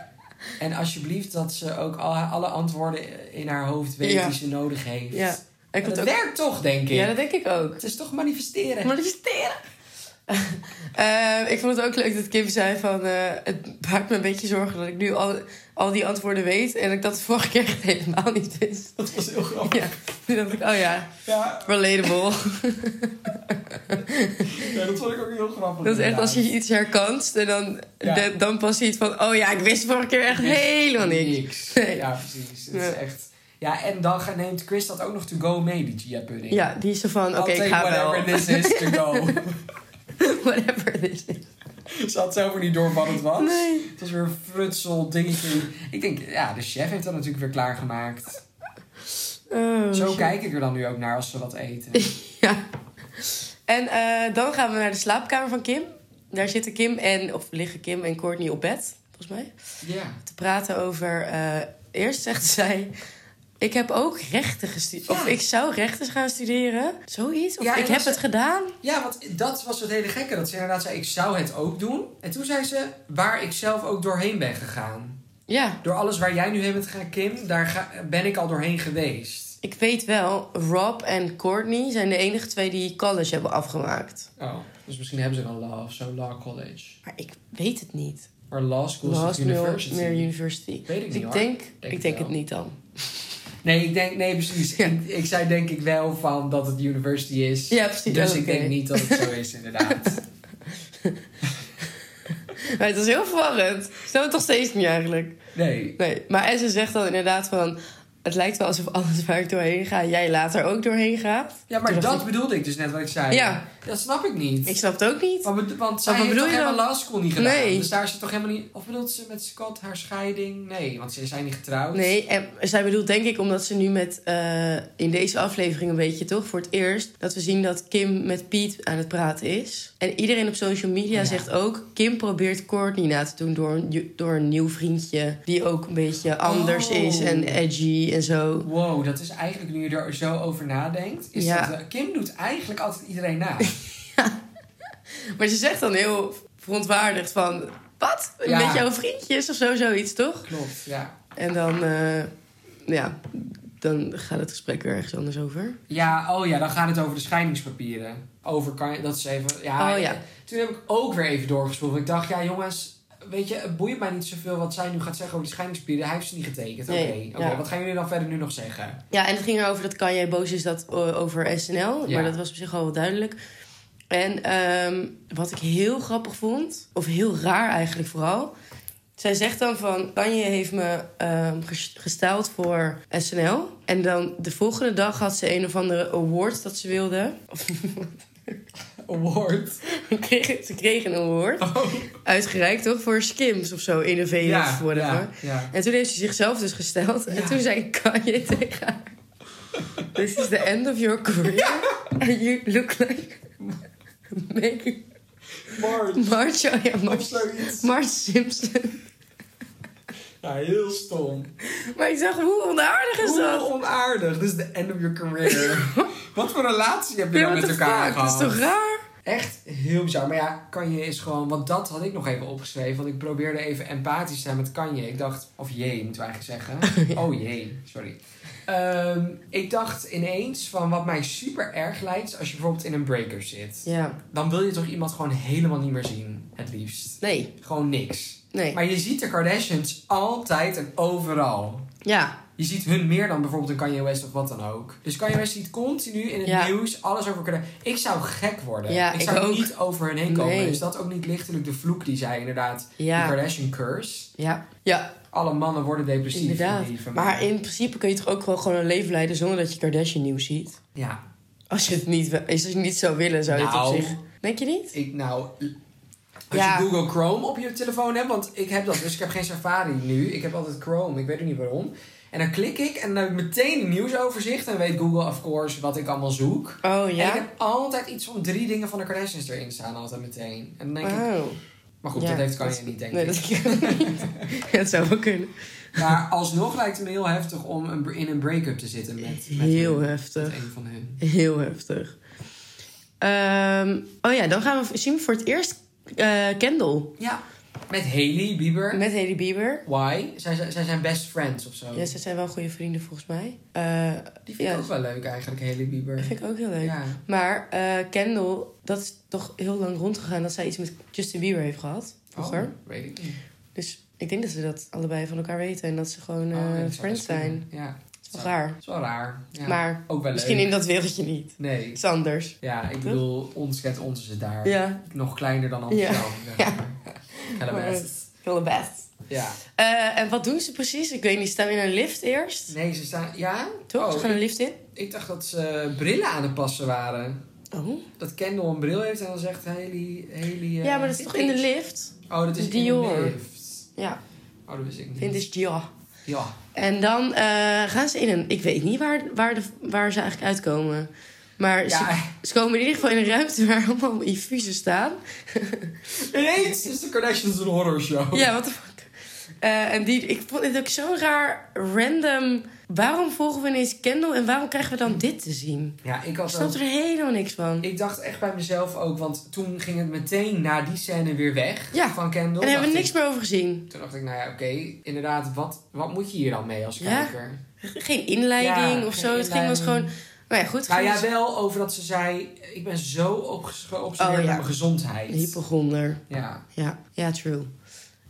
[SPEAKER 1] En alsjeblieft dat ze ook al, alle antwoorden in haar hoofd weet
[SPEAKER 2] Ja.
[SPEAKER 1] die ze nodig heeft.
[SPEAKER 2] Ja, hij
[SPEAKER 1] En
[SPEAKER 2] komt
[SPEAKER 1] dat
[SPEAKER 2] ook...
[SPEAKER 1] werkt toch, denk ik.
[SPEAKER 2] ja dat denk ik ook.
[SPEAKER 1] Het is toch manifesteren.
[SPEAKER 2] Manifesteren. Eh, ik vond het ook leuk dat Kim zei van... eh, het maakt me een beetje zorgen dat ik nu al, al die antwoorden weet... en ik dat de vorige keer echt helemaal niet wist.
[SPEAKER 1] Dat was heel grappig.
[SPEAKER 2] Ja, toen dacht ik, oh ja,
[SPEAKER 1] Ja,
[SPEAKER 2] relatable.
[SPEAKER 1] ja, dat vond ik ook heel grappig.
[SPEAKER 2] Dat is echt als je
[SPEAKER 1] inderdaad.
[SPEAKER 2] iets herkanst en dan,
[SPEAKER 1] Ja.
[SPEAKER 2] de- dan pas ziet van... oh ja, ik wist vorige keer echt helemaal niks. Nee.
[SPEAKER 1] Ja, precies. Het is
[SPEAKER 2] Nee.
[SPEAKER 1] echt... Ja, en dan ga- neemt Chris dat ook nog to go mee, die chia pudding.
[SPEAKER 2] Ja, die is zo van, oké,
[SPEAKER 1] I'll
[SPEAKER 2] ik
[SPEAKER 1] take
[SPEAKER 2] ga wel.
[SPEAKER 1] whatever this is to go.
[SPEAKER 2] whatever this is.
[SPEAKER 1] Ze had zelf er niet door wat het was.
[SPEAKER 2] Nee.
[SPEAKER 1] Het was weer een frutsel dingetje. Ik denk, ja, de chef heeft dat natuurlijk weer klaargemaakt.
[SPEAKER 2] Oh,
[SPEAKER 1] Zo
[SPEAKER 2] shit.
[SPEAKER 1] kijk ik er dan nu ook naar als ze wat eten.
[SPEAKER 2] Ja. En eh, dan gaan we naar de slaapkamer van Kim. Daar zitten Kim en, of liggen Kim en Courtney op bed, volgens mij.
[SPEAKER 1] Ja.
[SPEAKER 2] Te praten over, eh, eerst zegt zij... Ik heb ook rechten gestudeerd. Of
[SPEAKER 1] Ja.
[SPEAKER 2] ik zou rechten gaan studeren. Zoiets. Of
[SPEAKER 1] Ja, en
[SPEAKER 2] ik
[SPEAKER 1] dat
[SPEAKER 2] heb
[SPEAKER 1] ze-
[SPEAKER 2] het gedaan.
[SPEAKER 1] Ja, want dat was het hele gekke. Dat ze inderdaad zei, ik zou het ook doen. En toen zei ze, waar ik zelf ook doorheen ben gegaan.
[SPEAKER 2] Ja.
[SPEAKER 1] Door alles waar jij nu heen bent gegaan, Kim, daar ga- ben ik al doorheen geweest.
[SPEAKER 2] Ik weet wel, Rob en Courtney zijn de enige twee die college hebben afgemaakt.
[SPEAKER 1] Oh, dus misschien hebben ze wel law of zo, law college.
[SPEAKER 2] Maar ik weet het niet.
[SPEAKER 1] Maar law school is
[SPEAKER 2] Last
[SPEAKER 1] toch university.
[SPEAKER 2] Meer University.
[SPEAKER 1] Weet ik niet,
[SPEAKER 2] Dus ik
[SPEAKER 1] hoor.
[SPEAKER 2] denk,
[SPEAKER 1] Denk
[SPEAKER 2] ik denk
[SPEAKER 1] wel.
[SPEAKER 2] het niet dan.
[SPEAKER 1] Nee, ik denk, nee, precies.
[SPEAKER 2] Ja.
[SPEAKER 1] Ik, ik zei denk ik wel van dat het university is.
[SPEAKER 2] Ja, precies.
[SPEAKER 1] Dus
[SPEAKER 2] Oh,
[SPEAKER 1] ik
[SPEAKER 2] oké.
[SPEAKER 1] denk niet dat het zo is, inderdaad.
[SPEAKER 2] Maar het was heel verwarrend. Ik Snap het toch steeds niet eigenlijk.
[SPEAKER 1] Nee.
[SPEAKER 2] Nee, maar en ze zegt dan inderdaad van... Het lijkt wel alsof alles waar ik doorheen ga, jij later ook doorheen gaat.
[SPEAKER 1] Ja, maar
[SPEAKER 2] Toen dacht
[SPEAKER 1] dat bedoelde ik dus net wat ik zei.
[SPEAKER 2] Ja.
[SPEAKER 1] Dat snap ik niet.
[SPEAKER 2] Ik snap het ook niet.
[SPEAKER 1] Want, bedo- want zij
[SPEAKER 2] wat
[SPEAKER 1] heeft
[SPEAKER 2] bedoel
[SPEAKER 1] toch
[SPEAKER 2] je
[SPEAKER 1] helemaal
[SPEAKER 2] dan?
[SPEAKER 1] law school niet gedaan?
[SPEAKER 2] Nee.
[SPEAKER 1] Dus daar is ze toch helemaal niet... Of bedoelt ze met Scott haar scheiding? Nee, want ze zijn niet getrouwd.
[SPEAKER 2] Nee, en zij bedoelt denk ik omdat ze nu met... eh, in deze aflevering een beetje toch, voor het eerst... dat we zien dat Kim met Piet aan het praten is. En iedereen op social media
[SPEAKER 1] Oh, Ja.
[SPEAKER 2] zegt ook... Kim probeert Courtney na te doen door een, ju- door een nieuw vriendje... die ook een beetje anders
[SPEAKER 1] Oh.
[SPEAKER 2] is en edgy en zo.
[SPEAKER 1] Wow, dat is eigenlijk nu je er zo over nadenkt. Is
[SPEAKER 2] Ja.
[SPEAKER 1] dat, eh, Kim doet eigenlijk altijd iedereen na.
[SPEAKER 2] Maar ze zegt dan heel verontwaardigd van... Wat?
[SPEAKER 1] Ja.
[SPEAKER 2] Met jouw vriendjes of zo, zoiets, toch?
[SPEAKER 1] Klopt, ja.
[SPEAKER 2] En dan, eh, ja, dan gaat het gesprek weer ergens anders over.
[SPEAKER 1] Ja, oh ja, dan gaat het over de scheidingspapieren. Over kan je, dat is even. Ja,
[SPEAKER 2] Oh ja.
[SPEAKER 1] Toen heb ik ook weer even doorgespoeld. want Ik dacht, ja, jongens, weet je, het boeit mij niet zoveel wat zij nu gaat zeggen over die scheidingspapieren. Hij heeft ze niet getekend. Oké,
[SPEAKER 2] Nee,
[SPEAKER 1] oké,
[SPEAKER 2] ja.
[SPEAKER 1] wat gaan jullie dan verder nu nog zeggen?
[SPEAKER 2] Ja, en het ging erover dat Kanye boos is dat, eh, over
[SPEAKER 1] Ja.
[SPEAKER 2] SNL. Maar dat was op zich al wel duidelijk. En ehm, wat ik heel grappig vond, of heel raar eigenlijk vooral... Zij zegt dan van, Kanye heeft me ehm, ges- gesteld voor SNL. En dan de volgende dag had ze een of andere award dat ze wilde.
[SPEAKER 1] Award.
[SPEAKER 2] Ze kregen- ze kregen een award. Uitgereikt toch? Voor Skims of zo. Innovative of whatever.
[SPEAKER 1] Oh, ja, ja.
[SPEAKER 2] En toen heeft ze zichzelf dus gesteld.
[SPEAKER 1] Ja.
[SPEAKER 2] En toen zei Kanye tegen haar... This is the end of your career. And you look like... Mary
[SPEAKER 1] Award.
[SPEAKER 2] March... Oh ja,
[SPEAKER 1] Of
[SPEAKER 2] March,
[SPEAKER 1] zoiets.
[SPEAKER 2] March Simpson.
[SPEAKER 1] Ja, heel stom.
[SPEAKER 2] Maar ik dacht, hoe onaardig is
[SPEAKER 1] Hoe
[SPEAKER 2] dat?
[SPEAKER 1] onaardig. Dit is de end of your career. Wat voor relatie heb je
[SPEAKER 2] Ja,
[SPEAKER 1] dan
[SPEAKER 2] what
[SPEAKER 1] met
[SPEAKER 2] the
[SPEAKER 1] elkaar
[SPEAKER 2] fuck? Dat is
[SPEAKER 1] gehad?
[SPEAKER 2] toch raar?
[SPEAKER 1] Echt heel bizar. Maar ja, Kanye is gewoon... Want dat had ik nog even opgeschreven. Want ik probeerde even empathisch te zijn met Kanye. Ik dacht... Of jee, moeten we eigenlijk zeggen. Oh jee, sorry. Ehm, ik dacht ineens van wat mij super erg lijkt... is als je bijvoorbeeld in een breaker zit.
[SPEAKER 2] Ja.
[SPEAKER 1] Dan wil je toch iemand gewoon helemaal niet meer zien. Het liefst.
[SPEAKER 2] Nee.
[SPEAKER 1] Gewoon niks.
[SPEAKER 2] Nee.
[SPEAKER 1] Maar je ziet de Kardashians altijd en overal.
[SPEAKER 2] Ja.
[SPEAKER 1] Je ziet hun meer dan bijvoorbeeld een Kanye West of wat dan ook. Dus Kanye West ziet continu in het
[SPEAKER 2] Ja.
[SPEAKER 1] nieuws alles over kunnen. Ik zou gek worden.
[SPEAKER 2] Ja,
[SPEAKER 1] ik
[SPEAKER 2] ik
[SPEAKER 1] zou
[SPEAKER 2] ook.
[SPEAKER 1] niet over hun heen komen.
[SPEAKER 2] Nee.
[SPEAKER 1] Is dat ook niet lichtelijk de vloek die zij inderdaad, de
[SPEAKER 2] Ja.
[SPEAKER 1] Kardashian curse?
[SPEAKER 2] Ja. Ja.
[SPEAKER 1] Alle mannen worden depressief. in
[SPEAKER 2] Inderdaad.
[SPEAKER 1] die familie.
[SPEAKER 2] Maar in principe kun je toch ook wel gewoon een leven leiden zonder dat je Kardashian nieuws ziet?
[SPEAKER 1] Ja,
[SPEAKER 2] Als je het niet, we- als je het niet zou willen, zou je
[SPEAKER 1] Nou.
[SPEAKER 2] het op zich... Denk je niet?
[SPEAKER 1] ik nou... Als
[SPEAKER 2] Ja.
[SPEAKER 1] je Google Chrome op je telefoon hebt, want ik heb dat, dus ik heb geen Safari nu. Ik heb altijd Chrome, ik weet ook niet waarom. En dan klik ik en dan heb ik meteen een nieuwsoverzicht. En weet Google, of course, wat ik allemaal zoek.
[SPEAKER 2] Oh
[SPEAKER 1] En
[SPEAKER 2] ja?
[SPEAKER 1] ik heb altijd iets van drie dingen van de Kardashians erin staan, altijd meteen. En dan denk ik,
[SPEAKER 2] Wauw.
[SPEAKER 1] maar goed,
[SPEAKER 2] Ah, Ja,
[SPEAKER 1] dat heeft kan
[SPEAKER 2] dat-
[SPEAKER 1] je niet, denk
[SPEAKER 2] Nee,
[SPEAKER 1] ik.
[SPEAKER 2] dat ik ook niet. Het zou wel kunnen.
[SPEAKER 1] Maar alsnog lijkt het me heel heftig om een, in een break-up te zitten met, met
[SPEAKER 2] Heel
[SPEAKER 1] hun,
[SPEAKER 2] heftig.
[SPEAKER 1] Met een van hun.
[SPEAKER 2] Heel heftig. Ehm, oh ja, dan gaan we zien we voor het eerst eh Kendall.
[SPEAKER 1] Ja, met Hailey Bieber.
[SPEAKER 2] Met Haley Bieber.
[SPEAKER 1] Why? Zij, zij, zij zijn best friends of zo.
[SPEAKER 2] Ja, ze zijn wel goede vrienden volgens mij. Eh,
[SPEAKER 1] Die vind
[SPEAKER 2] ja.
[SPEAKER 1] ik ook wel leuk eigenlijk, Hailey Bieber.
[SPEAKER 2] dat vind ik ook heel leuk.
[SPEAKER 1] Ja. oh,
[SPEAKER 2] Maar eh, Kendall, dat is toch heel lang rondgegaan dat zij iets met Justin Bieber heeft gehad. Vroeger.
[SPEAKER 1] Oh, weet ik niet.
[SPEAKER 2] Dus ik denk dat ze dat allebei van elkaar weten. En dat ze gewoon eh,
[SPEAKER 1] Oh, nee, dat zou
[SPEAKER 2] friends
[SPEAKER 1] best kunnen.
[SPEAKER 2] zijn.
[SPEAKER 1] Ja,
[SPEAKER 2] Dat is
[SPEAKER 1] zou-
[SPEAKER 2] wel raar.
[SPEAKER 1] dat is wel raar. Ja.
[SPEAKER 2] Maar
[SPEAKER 1] ook wel
[SPEAKER 2] misschien
[SPEAKER 1] leuk.
[SPEAKER 2] in dat wereldje niet.
[SPEAKER 1] Nee.
[SPEAKER 2] Iets anders.
[SPEAKER 1] Ja, ik bedoel, ons kent ons is het daar.
[SPEAKER 2] Ja.
[SPEAKER 1] Nog kleiner dan Amsterdam. zeg
[SPEAKER 2] Ja.
[SPEAKER 1] maar. Hellemest.
[SPEAKER 2] Heel best.
[SPEAKER 1] Ja.
[SPEAKER 2] Eh, en wat doen ze precies? Ik weet niet, staan we in een lift eerst?
[SPEAKER 1] Nee, ze staan... Ja?
[SPEAKER 2] Toch?
[SPEAKER 1] Oh,
[SPEAKER 2] ze gaan een lift in?
[SPEAKER 1] Ik dacht dat ze eh, brillen aan het passen waren.
[SPEAKER 2] Oh.
[SPEAKER 1] Dat Kendall een bril heeft en dan zegt Haley... Haley
[SPEAKER 2] Ja,
[SPEAKER 1] eh,
[SPEAKER 2] maar dat is toch in de lift?
[SPEAKER 1] Oh, dat is in de
[SPEAKER 2] Dior.
[SPEAKER 1] lift.
[SPEAKER 2] Ja,
[SPEAKER 1] Oh, dat wist ik niet.
[SPEAKER 2] vintage Dior.
[SPEAKER 1] Ja.
[SPEAKER 2] En dan eh, gaan ze in een... Ik weet niet waar, waar, de, waar ze eigenlijk uitkomen. Maar
[SPEAKER 1] Ja,
[SPEAKER 2] ze, ze komen in ieder geval in een ruimte waar allemaal infusen staan.
[SPEAKER 1] ineens is de Kardashians een horrorshow.
[SPEAKER 2] Ja, what the fuck. Eh, en die, ik vond het ook zo'n raar random Waarom volgen we ineens Kendall en waarom krijgen we dan dit te zien?
[SPEAKER 1] Ja, ik
[SPEAKER 2] Ik
[SPEAKER 1] had ook-
[SPEAKER 2] snap er helemaal niks van.
[SPEAKER 1] Ik dacht echt bij mezelf ook, want toen ging het meteen na die scène weer weg
[SPEAKER 2] Ja.
[SPEAKER 1] van Kendall.
[SPEAKER 2] En daar hebben
[SPEAKER 1] Dacht
[SPEAKER 2] we niks
[SPEAKER 1] ik-
[SPEAKER 2] meer over gezien.
[SPEAKER 1] Toen dacht ik, nou ja, oké, inderdaad, wat, wat moet je hier dan mee als
[SPEAKER 2] Ja.
[SPEAKER 1] kijker?
[SPEAKER 2] Geen inleiding
[SPEAKER 1] Ja,
[SPEAKER 2] of
[SPEAKER 1] geen
[SPEAKER 2] zo. Het ging was
[SPEAKER 1] inleiding.
[SPEAKER 2] gewoon. Nou ja, goed.
[SPEAKER 1] Nou
[SPEAKER 2] gewoon
[SPEAKER 1] ja, wel over dat ze zei, ik ben zo opges- geobsedeerd
[SPEAKER 2] Oh, ja.
[SPEAKER 1] met mijn gezondheid.
[SPEAKER 2] een Hypochonder.
[SPEAKER 1] Ja.
[SPEAKER 2] Ja, ja, true.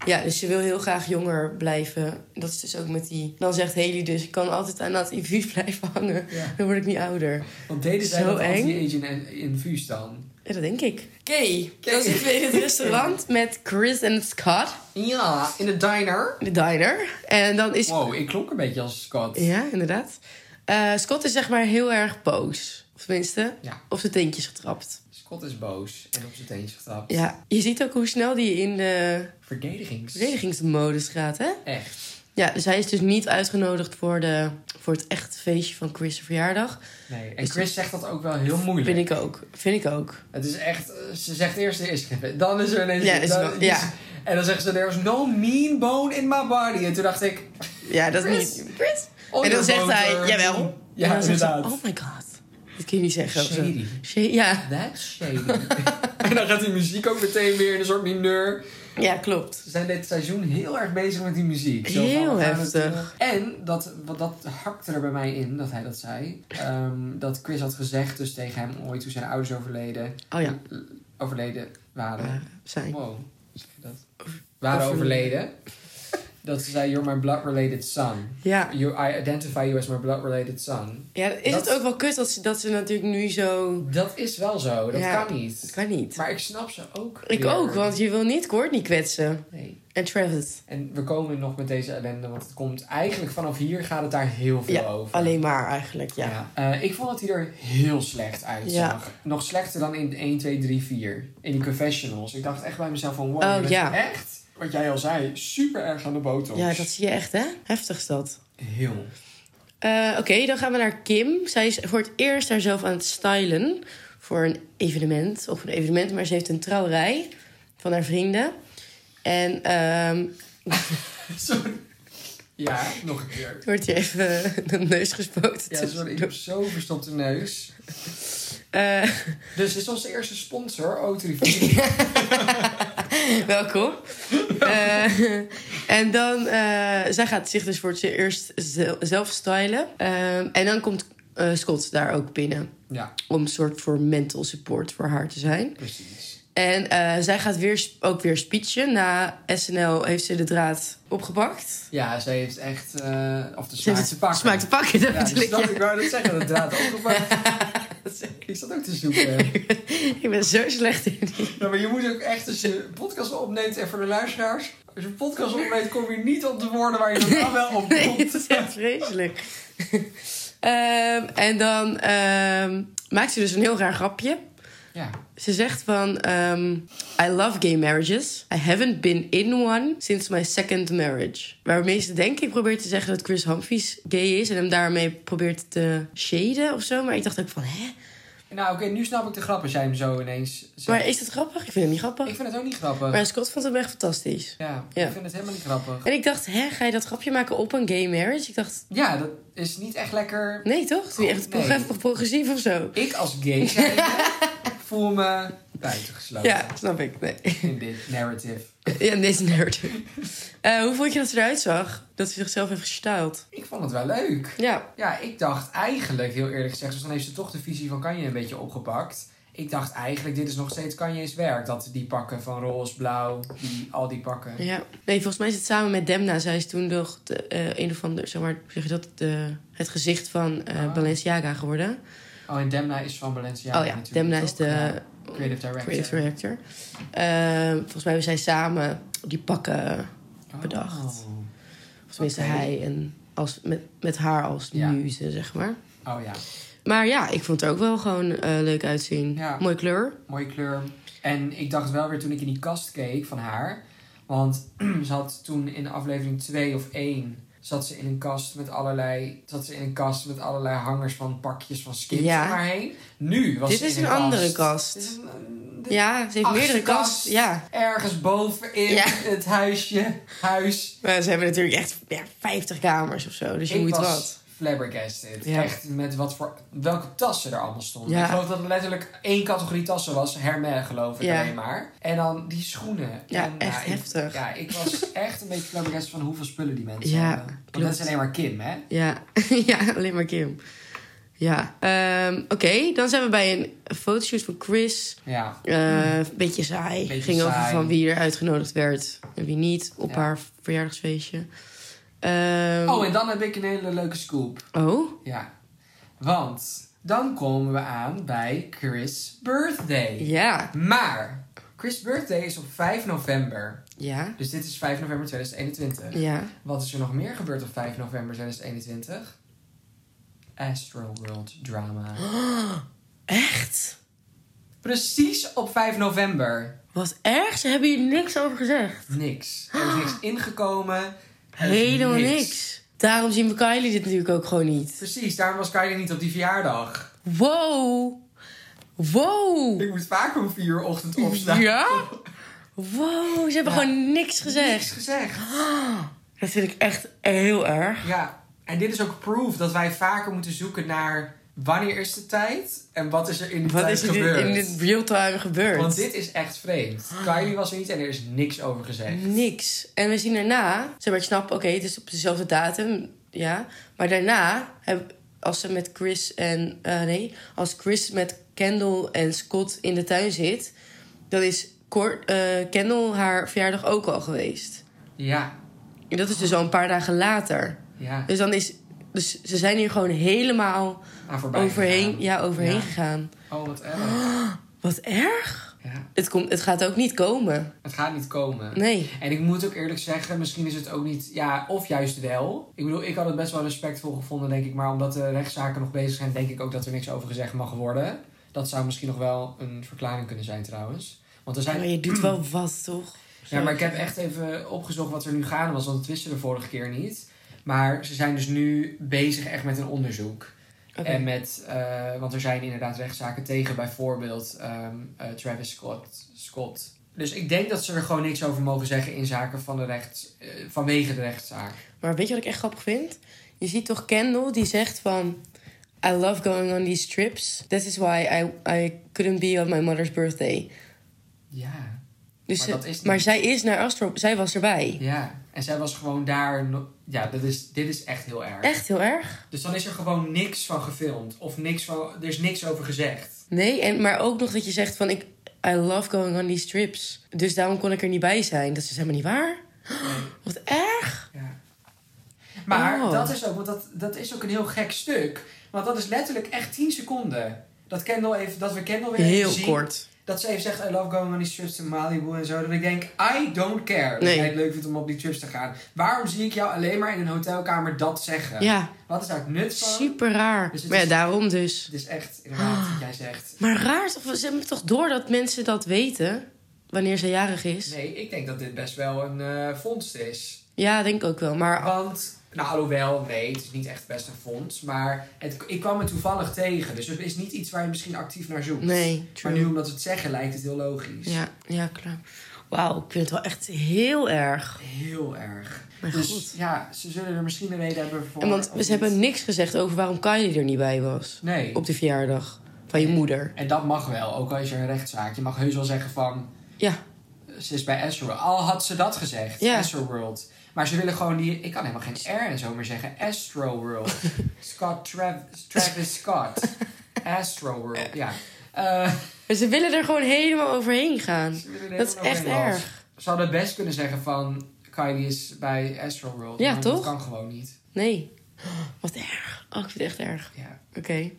[SPEAKER 2] Ja, dus ze wil heel graag jonger blijven. Dat is dus ook met die. Dan zegt Haley dus: ik kan altijd aan dat infuus blijven hangen.
[SPEAKER 1] ja.
[SPEAKER 2] Dan word ik niet ouder.
[SPEAKER 1] Want deden zij
[SPEAKER 2] Zo
[SPEAKER 1] dat
[SPEAKER 2] eng.
[SPEAKER 1] anti-aging en infuus dan?
[SPEAKER 2] Ja, dat denk ik. Kay, dat is in het restaurant met Chris en Scott,
[SPEAKER 1] Ja, in de diner.
[SPEAKER 2] de diner. En dan is.
[SPEAKER 1] Wow, ik klonk een beetje als Scott.
[SPEAKER 2] Ja, inderdaad. Eh, Scott is zeg maar heel erg boos. Of tenminste,
[SPEAKER 1] Ja.
[SPEAKER 2] op zijn teentjes getrapt.
[SPEAKER 1] Scott is boos en op zijn teentje getrapt.
[SPEAKER 2] Ja, je ziet ook hoe snel die in de
[SPEAKER 1] Verdedigings.
[SPEAKER 2] verdedigingsmodus gaat, hè?
[SPEAKER 1] Echt.
[SPEAKER 2] Ja, dus hij is dus niet uitgenodigd voor, de, voor het echte feestje van Chris' verjaardag.
[SPEAKER 1] Nee. En
[SPEAKER 2] Is-
[SPEAKER 1] Chris zegt dat ook wel heel moeilijk.
[SPEAKER 2] Vind ik ook. Vind ik ook.
[SPEAKER 1] Het is echt, eh, ze zegt eerst er is geen- Dan is er ineens.
[SPEAKER 2] Ja, is
[SPEAKER 1] dan-
[SPEAKER 2] wel- ja.
[SPEAKER 1] En dan zegt ze: There's no mean bone in my body. En toen dacht ik: "Oh,
[SPEAKER 2] Ja, dat
[SPEAKER 1] Chris?
[SPEAKER 2] is niet... Chris?
[SPEAKER 1] oh,
[SPEAKER 2] En dan
[SPEAKER 1] je
[SPEAKER 2] zegt
[SPEAKER 1] boter.
[SPEAKER 2] hij, jawel. en
[SPEAKER 1] Ja,
[SPEAKER 2] dan zegt ze,
[SPEAKER 1] inderdaad.
[SPEAKER 2] oh my god. Dat kun je niet zeggen. of zo.
[SPEAKER 1] Shady.
[SPEAKER 2] Shady, ja.
[SPEAKER 1] That's shady. en dan gaat die muziek ook meteen weer in een soort mineur.
[SPEAKER 2] ja, klopt.
[SPEAKER 1] Ze zijn dit seizoen heel erg bezig met die muziek. van,
[SPEAKER 2] Heel
[SPEAKER 1] we gaan het,
[SPEAKER 2] heftig.
[SPEAKER 1] eh, en dat, wat, dat hakte er bij mij in dat hij dat zei. Ehm, dat Chris had gezegd, dus tegen hem ooit toen zijn ouders overleden,
[SPEAKER 2] Oh ja,
[SPEAKER 1] overleden waren.
[SPEAKER 2] eh, zijn.
[SPEAKER 1] Wow. Dat. Waren overleden. Dat ze zei, you're my blood-related son.
[SPEAKER 2] Ja.
[SPEAKER 1] You, I identify you as my blood-related son.
[SPEAKER 2] ja, is
[SPEAKER 1] Dat-
[SPEAKER 2] het ook wel kut dat ze, dat ze natuurlijk nu zo...
[SPEAKER 1] Dat is wel zo, dat
[SPEAKER 2] Ja.
[SPEAKER 1] kan
[SPEAKER 2] Dat
[SPEAKER 1] niet.
[SPEAKER 2] kan niet.
[SPEAKER 1] Maar ik snap ze ook.
[SPEAKER 2] Ik
[SPEAKER 1] weer.
[SPEAKER 2] ook, want je wil niet Courtney kwetsen.
[SPEAKER 1] Nee.
[SPEAKER 2] En Travis.
[SPEAKER 1] En we komen nog met deze ellende, want het komt eigenlijk vanaf hier gaat het daar heel veel
[SPEAKER 2] Ja,
[SPEAKER 1] over.
[SPEAKER 2] Alleen maar eigenlijk, ja.
[SPEAKER 1] Eh, ik vond dat hij er heel slecht uitzag. Nog slechter dan in 1, 2, 3, 4. In die confessionals. Ik dacht echt bij mezelf van, wow,
[SPEAKER 2] Oh,
[SPEAKER 1] je bent
[SPEAKER 2] ja.
[SPEAKER 1] echt, wat jij al zei, super erg aan de botox.
[SPEAKER 2] Ja, dat zie je echt, hè? Heftig is dat.
[SPEAKER 1] Heel.
[SPEAKER 2] Eh, Oké, dan gaan we naar Kim. Zij is voor het eerst haarzelf aan het stylen voor een evenement. Of een evenement, maar ze heeft een trouwerij van haar vrienden. En ehm,
[SPEAKER 1] Sorry. Ja, nog een keer.
[SPEAKER 2] er wordt hier even de neus gespoten. dus-
[SPEAKER 1] Ja, sorry, ik heb zo verstopte neus.
[SPEAKER 2] Eh,
[SPEAKER 1] Dus dit is onze eerste sponsor, Autorivier.
[SPEAKER 2] welkom. Eh, en dan, eh, zij gaat zich dus voor het eerst zel- zelf stylen. Ehm, en dan komt eh, Scott daar ook binnen.
[SPEAKER 1] Ja,
[SPEAKER 2] Om een soort voor mental support voor haar te zijn.
[SPEAKER 1] precies.
[SPEAKER 2] En eh, zij gaat weer, sp- ook weer speechen. Na SNL heeft ze de draad opgepakt.
[SPEAKER 1] Ja, zij heeft echt... eh of de
[SPEAKER 2] Ze
[SPEAKER 1] smaak
[SPEAKER 2] heeft
[SPEAKER 1] te pakken.
[SPEAKER 2] Smaak te pakken, dat
[SPEAKER 1] ja,
[SPEAKER 2] bedoel
[SPEAKER 1] dus
[SPEAKER 2] ik.
[SPEAKER 1] dat,
[SPEAKER 2] ja.
[SPEAKER 1] ik wou dat zeggen, dat draad opgepakt. Ik zat ook te zoeken.
[SPEAKER 2] ik ben zo slecht in die.
[SPEAKER 1] Ja, maar je moet ook echt, als je een podcast opneemt, en voor de luisteraars... Als je een podcast opneemt, kom je niet op de woorden waar je normaal wel op
[SPEAKER 2] Nee, het
[SPEAKER 1] komt.
[SPEAKER 2] is echt vreselijk. Ehm, en dan ehm, maakt ze dus een heel raar grapje.
[SPEAKER 1] Ja,
[SPEAKER 2] Ze zegt van... ehm, I love gay marriages. I haven't been in one since my second marriage. Waarmee ze denk ik probeert te zeggen dat Chris Humphries gay is... en hem daarmee probeert te shaden of zo. Maar ik dacht ook van, hè?
[SPEAKER 1] nou oké, nu snap ik de grap als jij hem zo ineens zegt.
[SPEAKER 2] Maar is dat grappig? Ik vind hem niet grappig.
[SPEAKER 1] Ik vind het ook niet grappig.
[SPEAKER 2] Maar Scott vond hem echt fantastisch.
[SPEAKER 1] Ja,
[SPEAKER 2] Ja.
[SPEAKER 1] ik vind het helemaal niet grappig.
[SPEAKER 2] En ik dacht, hè, ga je dat grapje maken op een gay marriage? Ik dacht,
[SPEAKER 1] Ja, dat is niet echt lekker.
[SPEAKER 2] nee toch? Doe je echt
[SPEAKER 1] Nee.
[SPEAKER 2] progressief, progressief of zo?
[SPEAKER 1] Ik als gay zijnde voel me buitengesloten
[SPEAKER 2] Ja, snap ik. Nee.
[SPEAKER 1] in dit narrative.
[SPEAKER 2] ja, deze nerd. Eh, hoe vond je dat ze eruit zag? Dat ze zichzelf heeft gestyled.
[SPEAKER 1] Ik vond het wel leuk.
[SPEAKER 2] Ja,
[SPEAKER 1] Ja, ik dacht eigenlijk, heel eerlijk gezegd, dus dan heeft ze toch de visie van Kanye een beetje opgepakt. Ik dacht eigenlijk, dit is nog steeds Kanye's werk. Dat die pakken van roze, blauw, die, al die pakken.
[SPEAKER 2] ja. Nee, volgens mij is het samen met Demna. Zij is toen nog de, eh, een of ander, zeg maar, hoe zeg je dat, de, het gezicht van eh,
[SPEAKER 1] Ah.
[SPEAKER 2] Balenciaga geworden.
[SPEAKER 1] Oh, en Demna is van Balenciaga
[SPEAKER 2] oh ja,
[SPEAKER 1] natuurlijk,
[SPEAKER 2] Demna is
[SPEAKER 1] toch?
[SPEAKER 2] de
[SPEAKER 1] Ja, creative director.
[SPEAKER 2] creative director. Eh, volgens mij hebben zij samen die pakken
[SPEAKER 1] Oh.
[SPEAKER 2] bedacht. Of tenminste
[SPEAKER 1] Oké.
[SPEAKER 2] hij en als, met, met haar als
[SPEAKER 1] Ja.
[SPEAKER 2] muze, zeg maar.
[SPEAKER 1] Oh ja,
[SPEAKER 2] Maar ja, ik vond het er ook wel gewoon eh, leuk uitzien.
[SPEAKER 1] Ja.
[SPEAKER 2] Mooie kleur.
[SPEAKER 1] mooie kleur. En ik dacht wel weer toen ik in die kast keek van haar. Want ze had toen in aflevering 2 of 1 zat ze in een kast met allerlei. Zat ze in een kast met allerlei hangers van pakjes van skips
[SPEAKER 2] Ja.
[SPEAKER 1] om haar heen. Nu was
[SPEAKER 2] Dit
[SPEAKER 1] ze
[SPEAKER 2] is
[SPEAKER 1] in
[SPEAKER 2] een andere kast.
[SPEAKER 1] Dit is een, een- dit-
[SPEAKER 2] Ja, ze heeft
[SPEAKER 1] Achtste
[SPEAKER 2] meerdere
[SPEAKER 1] kast.
[SPEAKER 2] kasten. Ja.
[SPEAKER 1] Ergens bovenin
[SPEAKER 2] Ja.
[SPEAKER 1] het huisje. Huis.
[SPEAKER 2] Maar ze hebben natuurlijk echt ja, 50 kamers of zo. Dus je
[SPEAKER 1] ik
[SPEAKER 2] moet
[SPEAKER 1] was
[SPEAKER 2] wat.
[SPEAKER 1] flabbergasted.
[SPEAKER 2] Ja.
[SPEAKER 1] Echt met wat voor, welke tassen er allemaal stonden.
[SPEAKER 2] Ja.
[SPEAKER 1] Ik geloof dat er letterlijk één categorie tassen was. Hermès geloof ik
[SPEAKER 2] Ja.
[SPEAKER 1] alleen maar. En dan die schoenen.
[SPEAKER 2] Ja,
[SPEAKER 1] En, nou,
[SPEAKER 2] echt
[SPEAKER 1] ik-
[SPEAKER 2] heftig.
[SPEAKER 1] Ja, ik was echt een beetje flabbergasted van hoeveel spullen die mensen
[SPEAKER 2] Ja,
[SPEAKER 1] hebben. Want
[SPEAKER 2] klopt.
[SPEAKER 1] dat is alleen maar Kim, hè?
[SPEAKER 2] Ja, ja alleen maar Kim. Ja, Ehm, oké. Dan zijn we bij een fotoshoot van Chris.
[SPEAKER 1] Ja.
[SPEAKER 2] Eh, Beetje saai.
[SPEAKER 1] Hmm. Beetje
[SPEAKER 2] Ging over
[SPEAKER 1] saai.
[SPEAKER 2] van wie er uitgenodigd werd en wie niet op
[SPEAKER 1] Ja.
[SPEAKER 2] haar verjaardagsfeestje. Ehm,
[SPEAKER 1] Oh, en dan heb ik een hele leuke scoop.
[SPEAKER 2] oh?
[SPEAKER 1] Ja. Want dan komen we aan bij Chris' birthday.
[SPEAKER 2] Ja.
[SPEAKER 1] Maar Chris' birthday is op 5 november.
[SPEAKER 2] Ja.
[SPEAKER 1] Dus dit is 5 november 2021.
[SPEAKER 2] Ja.
[SPEAKER 1] Wat is er nog meer gebeurd op 5 november 2021? Astroworld drama.
[SPEAKER 2] Echt?
[SPEAKER 1] Precies op 5 november.
[SPEAKER 2] Wat erg? Ze hebben hier niks over gezegd.
[SPEAKER 1] Niks. Er is niks ingekomen. Er is
[SPEAKER 2] Helemaal niks. Daarom zien we Kylie dit natuurlijk ook gewoon niet.
[SPEAKER 1] Precies, daarom was Kylie niet op die verjaardag.
[SPEAKER 2] Wow. Wow.
[SPEAKER 1] Ik moet vaak om 4 uur ochtend opstaan.
[SPEAKER 2] Ja? Wow, ze hebben gewoon niks
[SPEAKER 1] Niks
[SPEAKER 2] gezegd.
[SPEAKER 1] gezegd.
[SPEAKER 2] Dat vind ik echt heel erg.
[SPEAKER 1] Ja, en dit is ook proof dat wij vaker moeten zoeken naar wanneer is de tijd en wat is er in de
[SPEAKER 2] Wat
[SPEAKER 1] tijd
[SPEAKER 2] is er dit-
[SPEAKER 1] gebeurd.
[SPEAKER 2] in dit real time gebeurd?
[SPEAKER 1] Want dit is echt vreemd. Kylie was er niet en er is niks over gezegd.
[SPEAKER 2] Niks. En we zien daarna, zeg maar, ik snap, oké, het is op dezelfde datum, ja. Maar daarna, heb- als ze met Chris en, eh, nee, als Chris met Kendall en Scott in de tuin zit, dan is Cor- eh, Kendall haar verjaardag ook al geweest.
[SPEAKER 1] Ja,
[SPEAKER 2] En dat is dus al een paar dagen later.
[SPEAKER 1] ja.
[SPEAKER 2] Dus dan is, dus ze zijn hier gewoon helemaal
[SPEAKER 1] Aan voorbij
[SPEAKER 2] overheen,
[SPEAKER 1] gegaan.
[SPEAKER 2] ja, overheen
[SPEAKER 1] Ja.
[SPEAKER 2] gegaan.
[SPEAKER 1] Oh, wat erg.
[SPEAKER 2] Wat erg.
[SPEAKER 1] Ja,
[SPEAKER 2] Het, komt, het gaat ook niet komen.
[SPEAKER 1] het gaat niet komen.
[SPEAKER 2] Nee.
[SPEAKER 1] En ik moet ook eerlijk zeggen, misschien is het ook niet... Ja, of juist wel. Ik bedoel, ik had het best wel respectvol gevonden, denk ik. Maar omdat de rechtszaken nog bezig zijn, denk ik ook dat er niks over gezegd mag worden. Dat zou misschien nog wel een verklaring kunnen zijn trouwens. Want er zijn
[SPEAKER 2] Maar je doet wel wat, toch?
[SPEAKER 1] Ja, maar ik heb echt even opgezocht wat er nu gaande was, want dat wisten we de vorige keer niet. Maar ze zijn dus nu bezig echt met een onderzoek.
[SPEAKER 2] Oké.
[SPEAKER 1] En met, eh, want er zijn inderdaad rechtszaken tegen bijvoorbeeld ehm, eh, Travis Scott, Scott. Dus ik denk dat ze er gewoon niks over mogen zeggen in zaken van de rechts, eh, vanwege de rechtszaak.
[SPEAKER 2] Maar weet je wat ik echt grappig vind? Je ziet toch Kendall die zegt van... I love going on these trips. That is why I, I couldn't be on my mother's birthday.
[SPEAKER 1] Ja,
[SPEAKER 2] Dus
[SPEAKER 1] Maar
[SPEAKER 2] ze-
[SPEAKER 1] dat is niet-
[SPEAKER 2] maar zij is naar Astro... Zij was erbij.
[SPEAKER 1] ja. En zij was gewoon daar. no- ja, dat is, dit is echt heel erg.
[SPEAKER 2] Echt heel erg.
[SPEAKER 1] Dus dan is er gewoon niks van gefilmd. Of niks van, er is niks over gezegd.
[SPEAKER 2] Nee, en, maar ook nog dat je zegt van... Ik, I love going on these trips. Dus daarom kon ik er niet bij zijn. Dat is dus helemaal niet waar. Wat erg.
[SPEAKER 1] Ja. Maar
[SPEAKER 2] Oh.
[SPEAKER 1] dat, is ook, want dat, dat is ook een heel gek stuk. Want dat is letterlijk echt 10 seconden. Dat, Kendall even, dat we Kendall weer
[SPEAKER 2] Heel
[SPEAKER 1] even zien.
[SPEAKER 2] kort.
[SPEAKER 1] Dat ze even zegt, I love going on these trips to Malibu en zo. Dat ik denk, I don't care. Dat
[SPEAKER 2] Nee.
[SPEAKER 1] jij het leuk vindt om op die trips te gaan. Waarom zie ik jou alleen maar in een hotelkamer dat zeggen?
[SPEAKER 2] Ja,
[SPEAKER 1] Wat is daar het nut van?
[SPEAKER 2] super Ah. raar.
[SPEAKER 1] Dus het
[SPEAKER 2] maar ja,
[SPEAKER 1] is-
[SPEAKER 2] daarom dus.
[SPEAKER 1] Het is echt, inderdaad, wat jij zegt.
[SPEAKER 2] Maar raar, toch? ze hebben toch door dat mensen dat weten... wanneer ze jarig is?
[SPEAKER 1] Nee, ik denk dat dit best wel een eh, vondst is.
[SPEAKER 2] Ja, denk ook wel. Maar
[SPEAKER 1] Want, nou, alhoewel, nee, het is niet echt best een fonds. Maar het, ik kwam het toevallig tegen. Dus het is niet iets waar je misschien actief naar zoekt.
[SPEAKER 2] Nee, true.
[SPEAKER 1] Maar nu omdat we het zeggen lijkt het heel logisch.
[SPEAKER 2] Ja, ja, klaar. Wauw, ik vind het wel echt heel erg.
[SPEAKER 1] Heel erg.
[SPEAKER 2] Maar
[SPEAKER 1] dus
[SPEAKER 2] goed.
[SPEAKER 1] ja, ze zullen er misschien een reden hebben voor.
[SPEAKER 2] En want
[SPEAKER 1] of
[SPEAKER 2] ze
[SPEAKER 1] niet.
[SPEAKER 2] hebben niks gezegd over waarom Kylie er niet bij was.
[SPEAKER 1] Nee.
[SPEAKER 2] Op de verjaardag van je moeder.
[SPEAKER 1] En dat mag wel, ook al is er een rechtszaak. Je mag heus wel zeggen van, eh,
[SPEAKER 2] Ja,
[SPEAKER 1] ze is bij Astroworld. Al had ze dat gezegd,
[SPEAKER 2] Ja.
[SPEAKER 1] Astroworld. Maar ze willen gewoon die, ik kan helemaal geen R en zo meer zeggen. Astroworld. Scott Travis, Travis Scott. Astroworld, ja. Eh,
[SPEAKER 2] maar ze willen er gewoon helemaal overheen gaan.
[SPEAKER 1] Ze willen er
[SPEAKER 2] Dat is
[SPEAKER 1] helemaal
[SPEAKER 2] echt
[SPEAKER 1] geen last.
[SPEAKER 2] erg.
[SPEAKER 1] Ze hadden best kunnen zeggen van... Kylie is bij Astroworld.
[SPEAKER 2] Ja,
[SPEAKER 1] maar
[SPEAKER 2] toch?
[SPEAKER 1] Dat kan gewoon niet.
[SPEAKER 2] Nee. Wat erg. Oh, ik vind het echt erg.
[SPEAKER 1] Ja.
[SPEAKER 2] Oké.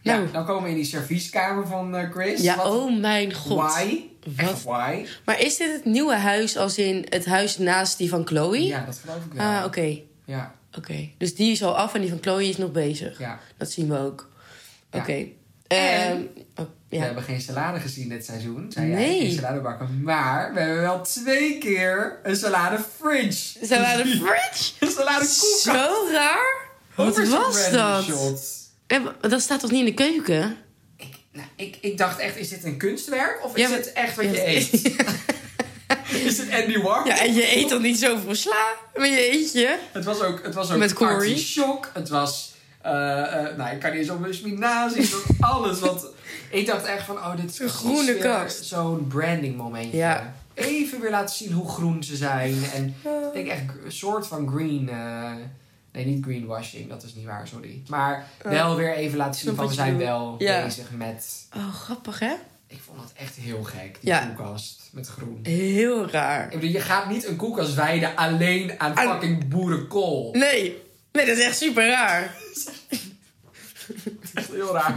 [SPEAKER 1] Ja,
[SPEAKER 2] Nou.
[SPEAKER 1] dan komen we in die servieskamer van eh, Chris.
[SPEAKER 2] Ja,
[SPEAKER 1] Wat-
[SPEAKER 2] oh mijn god.
[SPEAKER 1] Why? Echt why?
[SPEAKER 2] Maar is dit het nieuwe huis als in het huis naast die van Chloe?
[SPEAKER 1] Ja, dat geloof ik wel.
[SPEAKER 2] Ah, oké.
[SPEAKER 1] Ja,
[SPEAKER 2] Oké. Dus die is al af en die van Chloe is nog bezig.
[SPEAKER 1] ja.
[SPEAKER 2] Dat zien we ook. Oké.
[SPEAKER 1] Ja.
[SPEAKER 2] Ehm, oh,
[SPEAKER 1] We
[SPEAKER 2] ja.
[SPEAKER 1] hebben geen salade gezien dit seizoen. Zei
[SPEAKER 2] Nee.
[SPEAKER 1] jij, geen saladebakken. Maar we hebben wel twee keer een salade fringe.
[SPEAKER 2] Zijn we aan de fridge?
[SPEAKER 1] Een salade koek.
[SPEAKER 2] Zo raar. Wat was dat? Ja, maar dat staat toch niet in de keuken?
[SPEAKER 1] Ik, nou, ik, ik dacht echt, is dit een kunstwerk of
[SPEAKER 2] Ja,
[SPEAKER 1] is
[SPEAKER 2] maar-
[SPEAKER 1] dit echt wat je
[SPEAKER 2] Ja.
[SPEAKER 1] eet? Is het Andy Warhol?
[SPEAKER 2] Ja, en je eet dan niet zoveel sla, maar je eet je.
[SPEAKER 1] Het was ook, het was ook
[SPEAKER 2] Met Corey.
[SPEAKER 1] shock. Het was, eh, eh, nou, ik kan niet eens op een spinazie. Het was alles wat... Ik dacht echt van, oh, dit is
[SPEAKER 2] Een
[SPEAKER 1] precies
[SPEAKER 2] groene
[SPEAKER 1] weer
[SPEAKER 2] kast.
[SPEAKER 1] Zo'n branding momentje.
[SPEAKER 2] Ja.
[SPEAKER 1] Even weer laten zien hoe groen ze zijn. En ik denk echt een soort van green... eh, nee, niet greenwashing. Dat is niet waar, sorry. Maar wel weer even laten zien
[SPEAKER 2] snap
[SPEAKER 1] van, we
[SPEAKER 2] wat je
[SPEAKER 1] zijn
[SPEAKER 2] bedoelt.
[SPEAKER 1] wel
[SPEAKER 2] Ja.
[SPEAKER 1] bezig met...
[SPEAKER 2] Oh, grappig hè?
[SPEAKER 1] Ik vond het echt heel gek, die
[SPEAKER 2] Ja.
[SPEAKER 1] koelkast met groen.
[SPEAKER 2] Heel raar.
[SPEAKER 1] Ik bedoel, je gaat niet een koelkast wijden alleen aan
[SPEAKER 2] Aan-
[SPEAKER 1] fucking boerenkool.
[SPEAKER 2] Nee, nee, dat is echt super raar.
[SPEAKER 1] Echt heel raar.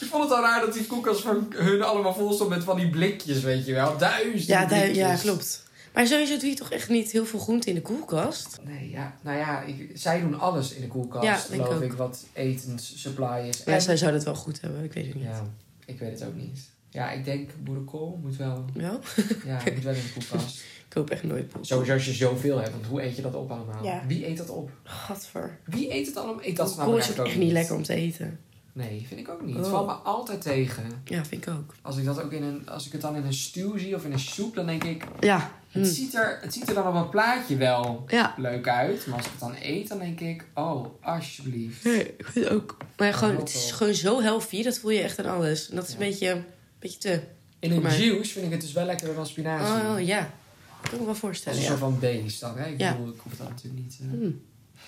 [SPEAKER 1] Ik vond het al raar dat die koelkast van hun allemaal vol stond met van die blikjes, weet je wel. Duizend
[SPEAKER 2] Ja, daar,
[SPEAKER 1] blikjes.
[SPEAKER 2] ja klopt. Maar sowieso doe je toch echt niet heel veel groente in de koelkast?
[SPEAKER 1] Nee, ja. Nou ja, ik- zij doen alles in de koelkast,
[SPEAKER 2] Ja, denk
[SPEAKER 1] geloof
[SPEAKER 2] ik
[SPEAKER 1] ik, wat etenssupply is.
[SPEAKER 2] Ja,
[SPEAKER 1] En-
[SPEAKER 2] zij zou dat wel goed hebben, ik weet het niet.
[SPEAKER 1] ja, ik weet het ook niet. Ja, ik denk boerenkool moet wel,
[SPEAKER 2] Wel?
[SPEAKER 1] ja, moet wel in de koelkast.
[SPEAKER 2] Ik koop echt nooit poep.
[SPEAKER 1] Sowieso als je zoveel hebt, want hoe eet je dat op allemaal?
[SPEAKER 2] Ja.
[SPEAKER 1] Wie eet dat op?
[SPEAKER 2] Gadver.
[SPEAKER 1] Wie eet het allemaal? Ik, dat snap ik
[SPEAKER 2] Kool is
[SPEAKER 1] eigenlijk
[SPEAKER 2] ook echt niet lekker om te eten.
[SPEAKER 1] Nee, vind ik ook niet. Het
[SPEAKER 2] Oh.
[SPEAKER 1] valt me altijd tegen.
[SPEAKER 2] Ja, vind ik ook.
[SPEAKER 1] Als ik, dat ook in een, als ik het dan in een stew zie of in een soep, dan denk ik...
[SPEAKER 2] Ja.
[SPEAKER 1] Het,
[SPEAKER 2] Hm.
[SPEAKER 1] ziet er, het ziet er dan op een plaatje wel
[SPEAKER 2] Ja.
[SPEAKER 1] leuk uit. Maar als ik het dan eet, dan denk ik... Oh, alsjeblieft.
[SPEAKER 2] Nee, ik vind het ook. Maar ja, gewoon, het is
[SPEAKER 1] Helpel.
[SPEAKER 2] gewoon zo healthy, dat voel je echt aan alles. En dat is een
[SPEAKER 1] Ja.
[SPEAKER 2] beetje, een beetje te...
[SPEAKER 1] In een
[SPEAKER 2] Maar-
[SPEAKER 1] juice vind ik het dus wel lekkerder dan spinazie.
[SPEAKER 2] Oh ja, dat kan ik me wel
[SPEAKER 1] Als
[SPEAKER 2] voorstellen.
[SPEAKER 1] een
[SPEAKER 2] Ja.
[SPEAKER 1] soort van beest dan. Hè? Ik
[SPEAKER 2] Ja.
[SPEAKER 1] bedoel, ik hoef dat natuurlijk niet... eh.
[SPEAKER 2] Hm.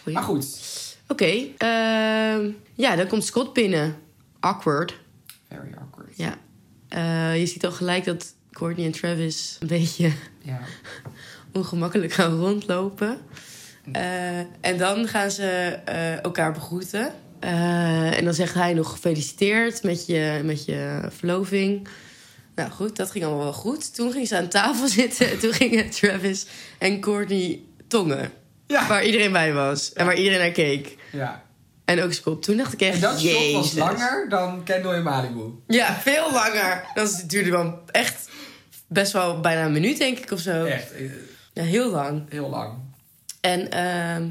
[SPEAKER 2] Goeie.
[SPEAKER 1] Maar goed.
[SPEAKER 2] Oké, ehm, ja, dan komt Scott binnen. Awkward.
[SPEAKER 1] Very awkward.
[SPEAKER 2] Ja. Eh, je ziet al gelijk dat Courtney en Travis een beetje
[SPEAKER 1] Ja.
[SPEAKER 2] ongemakkelijk gaan rondlopen. Eh, en dan gaan ze eh, elkaar begroeten. Eh, en dan zegt hij nog gefeliciteerd met je, met je verloving. Nou goed, dat ging allemaal wel goed. Toen gingen ze aan tafel zitten. En toen gingen Travis en Courtney tongen.
[SPEAKER 1] Ja.
[SPEAKER 2] Waar iedereen bij was. En waar iedereen naar keek.
[SPEAKER 1] ja.
[SPEAKER 2] En ook Scott. Toen dacht ik echt,
[SPEAKER 1] En dat shot was
[SPEAKER 2] jezus.
[SPEAKER 1] langer dan Kendall in Malibu.
[SPEAKER 2] Ja, veel langer. Dat duurde wel echt best wel bijna een minuut, denk ik, of zo.
[SPEAKER 1] Echt. eh,
[SPEAKER 2] Ja, heel lang.
[SPEAKER 1] Heel lang.
[SPEAKER 2] En ehm,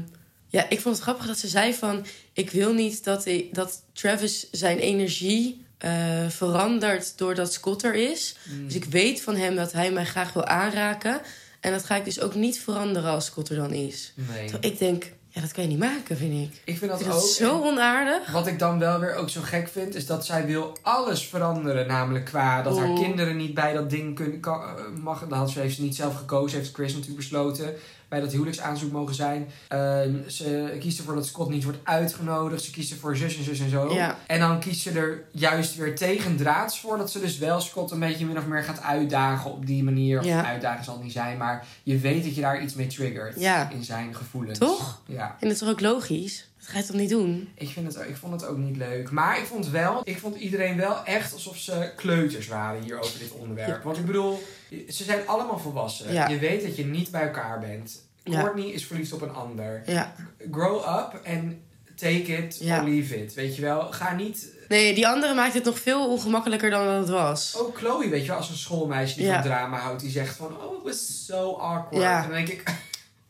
[SPEAKER 2] ja, ik vond het grappig dat ze zei van... ik wil niet dat, ik, dat Travis zijn energie eh, verandert doordat Scott er is.
[SPEAKER 1] Mm.
[SPEAKER 2] Dus ik weet van hem dat hij mij graag wil aanraken. En dat ga ik dus ook niet veranderen als Scott er dan is.
[SPEAKER 1] Nee.
[SPEAKER 2] Terwijl ik denk, ja, dat kan je niet maken, vind ik.
[SPEAKER 1] Ik vind
[SPEAKER 2] Ik
[SPEAKER 1] dat,
[SPEAKER 2] vind dat
[SPEAKER 1] ook...
[SPEAKER 2] zo onaardig.
[SPEAKER 1] Wat ik dan wel weer ook zo gek vind, is dat zij wil alles veranderen. Namelijk qua dat haar
[SPEAKER 2] Oeh.
[SPEAKER 1] kinderen niet bij dat ding kunnen, kan, eh, mag. Dat had ze, heeft ze niet zelf gekozen, heeft Chris natuurlijk besloten. Bij dat huwelijksaanzoek mogen zijn. Ehm, ze kiest ervoor dat Scott niet wordt uitgenodigd. Ze kiest ervoor zus en zus en zo.
[SPEAKER 2] Ja.
[SPEAKER 1] En dan kiest ze er juist weer tegendraads voor. Dat ze dus wel Scott een beetje min of meer gaat uitdagen op die manier. Of
[SPEAKER 2] Ja.
[SPEAKER 1] uitdagen zal het niet zijn, maar je weet dat je daar iets mee triggert.
[SPEAKER 2] Ja.
[SPEAKER 1] In zijn gevoelens.
[SPEAKER 2] Toch?
[SPEAKER 1] Ja.
[SPEAKER 2] En dat is toch ook logisch? Dat ga je toch niet doen?
[SPEAKER 1] Ik, vind het, ik vond het ook niet leuk. Maar ik vond wel, ik vond iedereen wel echt alsof ze kleuters waren hier over dit onderwerp. Want ik bedoel, ze zijn allemaal volwassen.
[SPEAKER 2] Ja.
[SPEAKER 1] Je weet dat je niet bij elkaar bent.
[SPEAKER 2] Ja.
[SPEAKER 1] Courtney is verliefd op een ander.
[SPEAKER 2] Ja.
[SPEAKER 1] Grow up en take it
[SPEAKER 2] Ja.
[SPEAKER 1] or leave it. Weet je wel, ga niet...
[SPEAKER 2] Nee, die andere maakt het nog veel ongemakkelijker dan dat het was.
[SPEAKER 1] Ook Chloe, weet je wel, als een schoolmeisje die
[SPEAKER 2] Ja.
[SPEAKER 1] van drama houdt. Die zegt van, oh, it was so awkward.
[SPEAKER 2] Ja.
[SPEAKER 1] En dan denk ik,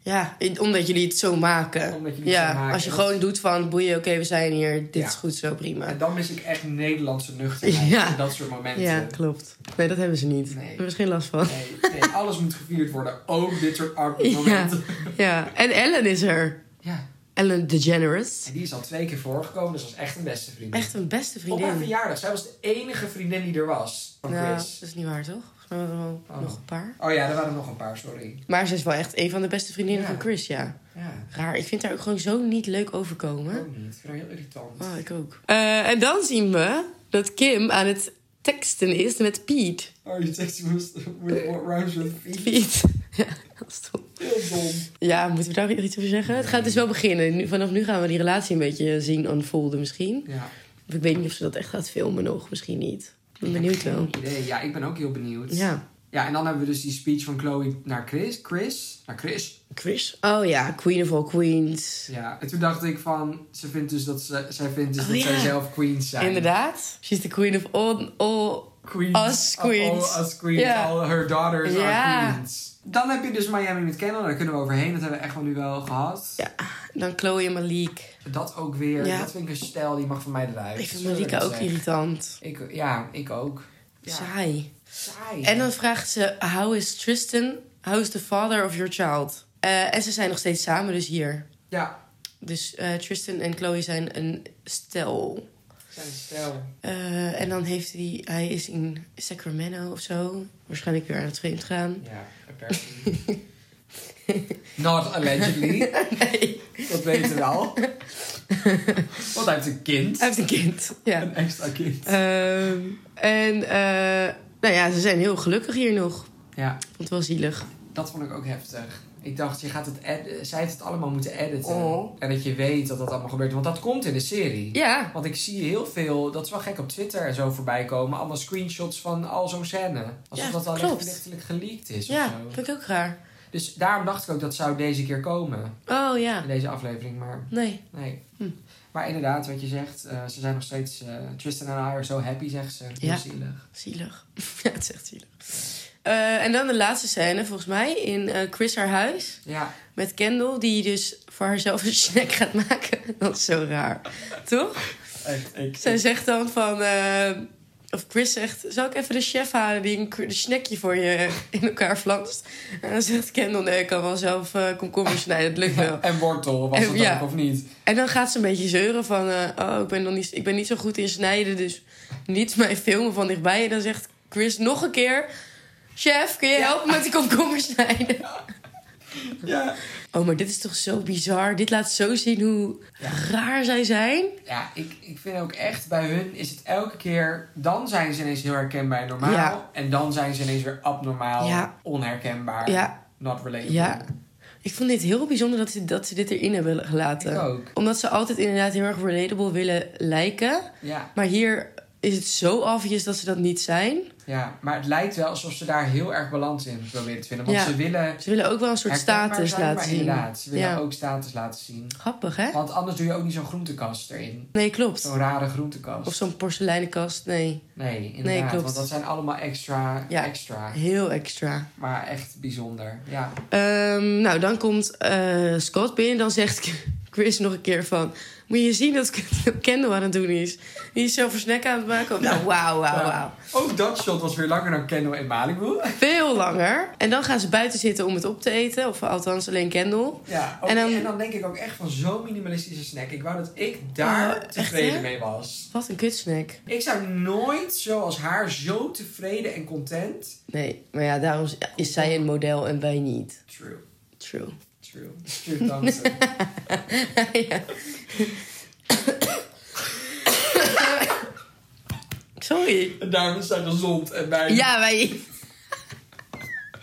[SPEAKER 2] Ja, in- omdat jullie het zo maken.
[SPEAKER 1] Omdat jullie het
[SPEAKER 2] ja,
[SPEAKER 1] zo maken.
[SPEAKER 2] als je gewoon doet van boeien, oké, we zijn hier, dit
[SPEAKER 1] Ja.
[SPEAKER 2] is goed zo, prima.
[SPEAKER 1] en dan mis ik echt Nederlandse nuchterheid.
[SPEAKER 2] Ja.
[SPEAKER 1] En dat soort momenten.
[SPEAKER 2] Ja, klopt. Nee, dat hebben ze niet.
[SPEAKER 1] Nee.
[SPEAKER 2] Daar hebben ze geen last van.
[SPEAKER 1] Nee, nee, alles moet gevierd worden. Ook dit soort awkward
[SPEAKER 2] Ja.
[SPEAKER 1] momenten.
[SPEAKER 2] Ja, en Ellen is er.
[SPEAKER 1] Ja,
[SPEAKER 2] Ellen DeGeneres.
[SPEAKER 1] en die is al twee keer voorgekomen, dus dat is echt een beste vriendin.
[SPEAKER 2] Echt een beste
[SPEAKER 1] Op haar
[SPEAKER 2] vriendin.
[SPEAKER 1] verjaardag. Zij was de enige vriendin die er was van
[SPEAKER 2] Nou, dat
[SPEAKER 1] Chris.
[SPEAKER 2] is niet waar, toch? Volgens mij waren er wel
[SPEAKER 1] Oh.
[SPEAKER 2] nog een paar.
[SPEAKER 1] Oh ja, er waren nog een paar, sorry.
[SPEAKER 2] Maar ze is wel echt een van de beste vriendinnen
[SPEAKER 1] Ja.
[SPEAKER 2] van Chris, ja.
[SPEAKER 1] Ja,
[SPEAKER 2] Raar, ik vind haar ook gewoon zo niet leuk overkomen.
[SPEAKER 1] ook Oh, niet. Ik vind haar heel irritant.
[SPEAKER 2] Oh, ik ook. en dan zien we dat Kim aan het teksten is met Piet.
[SPEAKER 1] Oh, je zegt ze moest with what rhymes with feet.
[SPEAKER 2] Piet. Ja, dat is toch.
[SPEAKER 1] Heel dom.
[SPEAKER 2] Ja, moeten we daar weer iets over zeggen? Het gaat dus wel beginnen. Nu, vanaf nu gaan we die relatie een beetje zien unfolden misschien.
[SPEAKER 1] Ja.
[SPEAKER 2] Of ik weet niet of ze dat echt gaat filmen nog. Misschien niet. Ik ben
[SPEAKER 1] Ik heb
[SPEAKER 2] benieuwd
[SPEAKER 1] geen
[SPEAKER 2] wel.
[SPEAKER 1] idee. Ja, ik ben ook heel benieuwd.
[SPEAKER 2] Ja.
[SPEAKER 1] Ja, en dan hebben we dus die speech van Chloe naar Chris. Chris? Naar Chris.
[SPEAKER 2] Chris? Oh ja, Queen of all Queens.
[SPEAKER 1] Ja. En toen dacht ik van, ze vindt dus dat ze, zij vindt dus
[SPEAKER 2] Oh,
[SPEAKER 1] dat
[SPEAKER 2] ja.
[SPEAKER 1] zij zelf queens zijn.
[SPEAKER 2] Inderdaad. She's the queen of all... all...
[SPEAKER 1] Queens.
[SPEAKER 2] Us
[SPEAKER 1] Of all
[SPEAKER 2] queens.
[SPEAKER 1] us queens.
[SPEAKER 2] Ja.
[SPEAKER 1] All her daughters
[SPEAKER 2] Ja.
[SPEAKER 1] are queens. Dan heb je dus Miami met Kendall. Daar kunnen we overheen. Dat hebben we echt wel nu wel gehad.
[SPEAKER 2] Ja, dan Chloe en Malik.
[SPEAKER 1] Dat ook weer.
[SPEAKER 2] Ja.
[SPEAKER 1] Dat vind ik een stijl. Die mag van mij eruit.
[SPEAKER 2] Ik vind
[SPEAKER 1] Sorry
[SPEAKER 2] Malika
[SPEAKER 1] dat
[SPEAKER 2] ook
[SPEAKER 1] ik
[SPEAKER 2] irritant.
[SPEAKER 1] zeg. ik, Ja, ik ook. Ja.
[SPEAKER 2] Saai.
[SPEAKER 1] Saai.
[SPEAKER 2] En dan vraagt ze, how is Tristan? How's the father of your child? Eh, en ze zijn nog steeds samen, dus hier.
[SPEAKER 1] Ja,
[SPEAKER 2] Dus eh, Tristan en Chloe zijn een stel.
[SPEAKER 1] zijn stel.
[SPEAKER 2] Eh, en dan heeft hij, hij is in Sacramento of zo. Waarschijnlijk weer aan het vreemd gaan.
[SPEAKER 1] Ja, apparently. Not allegedly.
[SPEAKER 2] Nee.
[SPEAKER 1] Dat weten we wel. Want hij heeft een kind.
[SPEAKER 2] Hij heeft een kind. Ja.
[SPEAKER 1] Een extra kind.
[SPEAKER 2] Ehm, en eh, nou ja, ze zijn heel gelukkig hier nog.
[SPEAKER 1] Ja,
[SPEAKER 2] Ik vond het wel zielig.
[SPEAKER 1] dat vond ik ook heftig. Ik dacht, je gaat het ed- zij heeft het allemaal moeten editen.
[SPEAKER 2] Oh.
[SPEAKER 1] En dat je weet dat dat allemaal gebeurt. Want dat komt in de serie.
[SPEAKER 2] Ja,
[SPEAKER 1] Want ik zie heel veel, dat is wel gek op Twitter en zo voorbij komen, allemaal screenshots van al zo'n scène. Alsof
[SPEAKER 2] Ja,
[SPEAKER 1] dat al
[SPEAKER 2] klopt.
[SPEAKER 1] echt lichtelijk geleakt is
[SPEAKER 2] ja,
[SPEAKER 1] of zo.
[SPEAKER 2] vind ik ook raar.
[SPEAKER 1] Dus daarom dacht ik ook dat zou deze keer komen,
[SPEAKER 2] Oh ja,
[SPEAKER 1] in deze aflevering. Maar
[SPEAKER 2] nee.
[SPEAKER 1] nee.
[SPEAKER 2] Hm.
[SPEAKER 1] Maar inderdaad, wat je zegt, eh, ze zijn nog steeds, eh, Tristan en I are so happy, zegt ze. Heel
[SPEAKER 2] Ja.
[SPEAKER 1] zielig.
[SPEAKER 2] Zielig. ja, het is echt zielig. Eh, en dan de laatste scène, volgens mij, in eh, Chris haar huis.
[SPEAKER 1] Ja,
[SPEAKER 2] Met Kendall, die dus voor haarzelf een snack gaat maken. Dat is zo raar. Toch?
[SPEAKER 1] echt. Ik,
[SPEAKER 2] Zij zegt dan van... eh, of Chris zegt, zal ik even de chef halen die een, k- een snackje voor je in elkaar flanst? En dan zegt Kendall, nee, ik kan wel zelf eh komkommer snijden, dat lukt wel.
[SPEAKER 1] en wortel, was
[SPEAKER 2] En-
[SPEAKER 1] het
[SPEAKER 2] ja.
[SPEAKER 1] ook of niet?
[SPEAKER 2] En dan gaat ze een beetje zeuren van... eh, oh, ik ben, nog niet, ik ben niet zo goed in snijden, dus niet mijn filmen van dichtbij. En dan zegt Chris nog een keer... Chef, kun je helpen met die komkommer snijden?
[SPEAKER 1] Ja.
[SPEAKER 2] Oh, maar dit is toch zo bizar. Dit laat zo zien hoe raar zij zijn.
[SPEAKER 1] Ja, ik, ik vind ook echt bij hun is het elke keer. Dan zijn ze ineens heel herkenbaar en normaal.
[SPEAKER 2] Ja.
[SPEAKER 1] En dan zijn ze ineens weer abnormaal,
[SPEAKER 2] Ja.
[SPEAKER 1] onherkenbaar,
[SPEAKER 2] Ja,
[SPEAKER 1] not relatable.
[SPEAKER 2] ja. Ik vond dit heel bijzonder dat ze, dat ze dit erin hebben
[SPEAKER 1] Ik
[SPEAKER 2] gelaten.
[SPEAKER 1] ook.
[SPEAKER 2] Omdat ze altijd inderdaad heel erg relatable willen lijken.
[SPEAKER 1] Ja,
[SPEAKER 2] Maar hier is het zo obvious dat ze dat niet zijn.
[SPEAKER 1] ja, maar het lijkt wel alsof ze daar heel erg balans in proberen te vinden. Want
[SPEAKER 2] Ja.
[SPEAKER 1] ze willen
[SPEAKER 2] Ze willen ook wel een soort
[SPEAKER 1] herkenbaar
[SPEAKER 2] status
[SPEAKER 1] zijn,
[SPEAKER 2] laten
[SPEAKER 1] maar
[SPEAKER 2] zien.
[SPEAKER 1] Inderdaad, ze willen
[SPEAKER 2] Ja.
[SPEAKER 1] ook status laten zien.
[SPEAKER 2] Grappig, hè?
[SPEAKER 1] Want anders doe je ook niet zo'n groentekast erin.
[SPEAKER 2] Nee, klopt.
[SPEAKER 1] Zo'n rare groentekast.
[SPEAKER 2] Of zo'n porseleinenkast. Nee,
[SPEAKER 1] Nee, inderdaad.
[SPEAKER 2] klopt.
[SPEAKER 1] Want dat zijn allemaal extra,
[SPEAKER 2] Ja.
[SPEAKER 1] extra.
[SPEAKER 2] heel extra.
[SPEAKER 1] Maar echt bijzonder. Ja.
[SPEAKER 2] Ehm, nou, dan komt eh, Scott binnen. Dan zegt Chris nog een keer van... Moet je zien dat Kendall aan het doen is? Die is zelf een snack aan het maken. Nou, wauw, wauw, wauw.
[SPEAKER 1] Ook dat shot was weer langer dan Kendall in Malibu.
[SPEAKER 2] Veel langer. En dan gaan ze buiten zitten om het op te eten. Of althans, alleen Kendall.
[SPEAKER 1] Ja, ook-
[SPEAKER 2] En
[SPEAKER 1] en,
[SPEAKER 2] dan-
[SPEAKER 1] dan, denk ik ook echt van zo'n minimalistische snack. Ik wou dat ik daar
[SPEAKER 2] Oh, echt,
[SPEAKER 1] tevreden
[SPEAKER 2] hè?
[SPEAKER 1] mee was.
[SPEAKER 2] Wat een kutsnack.
[SPEAKER 1] Ik zou nooit zoals haar zo tevreden en content.
[SPEAKER 2] Nee, maar ja, daarom is- is zij een model en wij niet.
[SPEAKER 1] True,
[SPEAKER 2] True.
[SPEAKER 1] true. True, dansen.
[SPEAKER 2] Ja. Sorry.
[SPEAKER 1] en daarom zijn er zond en mij.
[SPEAKER 2] Ja, wij...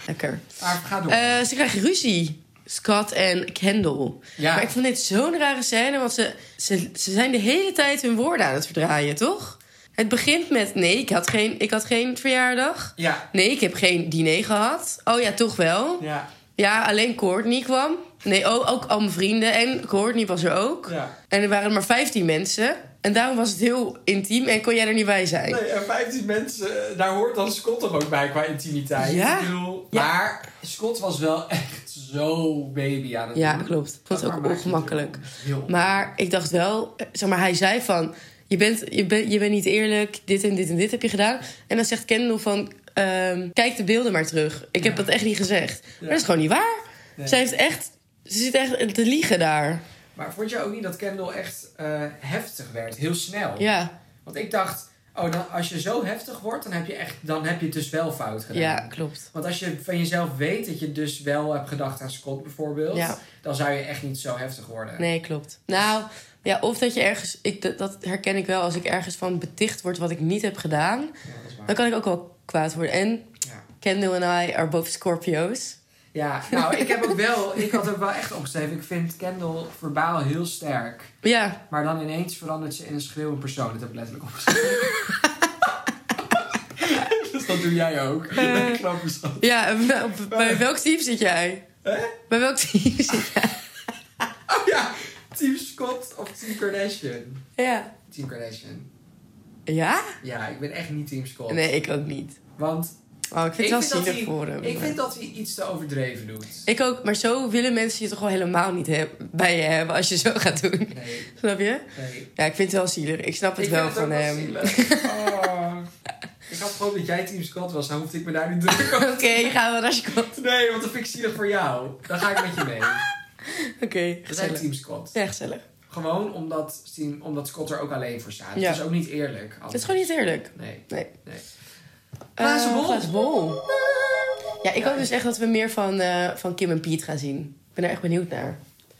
[SPEAKER 2] Lekker.
[SPEAKER 1] Maar ga door.
[SPEAKER 2] Eh, ze krijgen ruzie. Scott en Kendall.
[SPEAKER 1] Ja.
[SPEAKER 2] Maar ik vond dit zo'n rare scène, want ze, ze, ze zijn de hele tijd hun woorden aan het verdraaien, toch? Het begint met: nee, ik had geen, ik had geen verjaardag.
[SPEAKER 1] ja.
[SPEAKER 2] Nee, ik heb geen diner gehad. Oh ja, toch wel.
[SPEAKER 1] Ja,
[SPEAKER 2] Ja, alleen Courtney kwam. Nee, oh, ook al mijn vrienden. En Courtney was er ook.
[SPEAKER 1] ja.
[SPEAKER 2] En er waren maar 15 mensen. En daarom was het heel intiem en kon jij er niet bij zijn.
[SPEAKER 1] Nee, en 15 mensen, eh, daar hoort dan Scott toch ook bij qua intimiteit.
[SPEAKER 2] Ja.
[SPEAKER 1] Ik bedoel,
[SPEAKER 2] Ja.
[SPEAKER 1] Maar Scott was wel echt zo baby aan het
[SPEAKER 2] Ja,
[SPEAKER 1] doen.
[SPEAKER 2] klopt. Ik vond het
[SPEAKER 1] Maar
[SPEAKER 2] ook
[SPEAKER 1] maakt niet
[SPEAKER 2] ongemakkelijk.
[SPEAKER 1] uit. Heel
[SPEAKER 2] Maar ik dacht wel, eh, zeg maar, hij zei van... Je bent, je, bent, je bent niet eerlijk, dit en dit en dit heb je gedaan. En dan zegt Kendall van... ehm, kijk de beelden maar terug. Ik heb dat echt niet gezegd. Maar dat is gewoon niet waar.
[SPEAKER 1] Nee.
[SPEAKER 2] Zij heeft echt... Ze zit echt te liegen daar.
[SPEAKER 1] Maar vond je ook niet dat Kendall echt eh, heftig werd? Heel snel.
[SPEAKER 2] Ja,
[SPEAKER 1] Want ik dacht, oh, dan, als je zo heftig wordt, dan heb je, echt, dan heb je het dus wel fout gedaan.
[SPEAKER 2] ja klopt.
[SPEAKER 1] Want als je van jezelf weet dat je dus wel hebt gedacht aan Scott bijvoorbeeld,
[SPEAKER 2] Ja.
[SPEAKER 1] dan zou je echt niet zo heftig worden.
[SPEAKER 2] Nee, klopt. Nou, ja, of dat je ergens... Ik, dat, dat herken ik wel. Als ik ergens van beticht word wat ik niet heb gedaan...
[SPEAKER 1] Ja, dat is waar.
[SPEAKER 2] dan kan ik ook wel kwaad worden. En
[SPEAKER 1] Ja.
[SPEAKER 2] Kendall en I are both Scorpio's.
[SPEAKER 1] ja, nou, ik heb ook wel, ik had ook wel echt opgeschreven, ik vind Kendall verbaal heel sterk.
[SPEAKER 2] Ja,
[SPEAKER 1] Maar dan ineens verandert ze in een schreeuwend persoon. Dat heb ik letterlijk opgeschreven. dus dat doe jij ook.
[SPEAKER 2] Eh.
[SPEAKER 1] Knap is dat.
[SPEAKER 2] Ja, en wel- b- bij welk team zit jij?
[SPEAKER 1] Hè?
[SPEAKER 2] Bij welk team zit jij?
[SPEAKER 1] Oh ja, Team Scott of Team Kardashian?
[SPEAKER 2] Ja.
[SPEAKER 1] Team Kardashian.
[SPEAKER 2] Ja?
[SPEAKER 1] Ja, ik ben echt niet Team Scott.
[SPEAKER 2] Nee, ik ook niet.
[SPEAKER 1] Want
[SPEAKER 2] Oh, ik vind
[SPEAKER 1] Ik
[SPEAKER 2] het
[SPEAKER 1] vind
[SPEAKER 2] wel
[SPEAKER 1] dat
[SPEAKER 2] zielig
[SPEAKER 1] die-
[SPEAKER 2] voor hem.
[SPEAKER 1] ik vind dat hij iets te overdreven doet.
[SPEAKER 2] Ik ook, maar zo willen mensen je toch wel helemaal niet heb- bij je hebben als je zo gaat doen.
[SPEAKER 1] Nee,
[SPEAKER 2] Snap je?
[SPEAKER 1] nee.
[SPEAKER 2] Ja, ik vind het wel zielig. Ik snap het
[SPEAKER 1] ik
[SPEAKER 2] wel
[SPEAKER 1] vind het
[SPEAKER 2] van
[SPEAKER 1] ook
[SPEAKER 2] hem.
[SPEAKER 1] zielig. Oh. Ik had gehoopt dat jij Team Scott was, dan hoefde ik me daar niet druk over
[SPEAKER 2] Oké, gaan we naar Scott.
[SPEAKER 1] te Nee, want dan vind ik zielig voor jou. Dan ga ik met je mee. We
[SPEAKER 2] Oké,
[SPEAKER 1] zijn
[SPEAKER 2] gezellig.
[SPEAKER 1] Team Scott.
[SPEAKER 2] Ja, gezellig.
[SPEAKER 1] Oh. Gewoon omdat, team, omdat Scott er ook alleen voor staat.
[SPEAKER 2] Ja.
[SPEAKER 1] Het is ook niet eerlijk.
[SPEAKER 2] Het is gewoon niet eerlijk.
[SPEAKER 1] Nee.
[SPEAKER 2] Nee.
[SPEAKER 1] Nee.
[SPEAKER 2] Eh,
[SPEAKER 1] Glazen bol.
[SPEAKER 2] glazen bol. Ja, ik hoop dus echt dat we meer van, eh, van Kim en Piet gaan zien. Ik ben er echt benieuwd naar.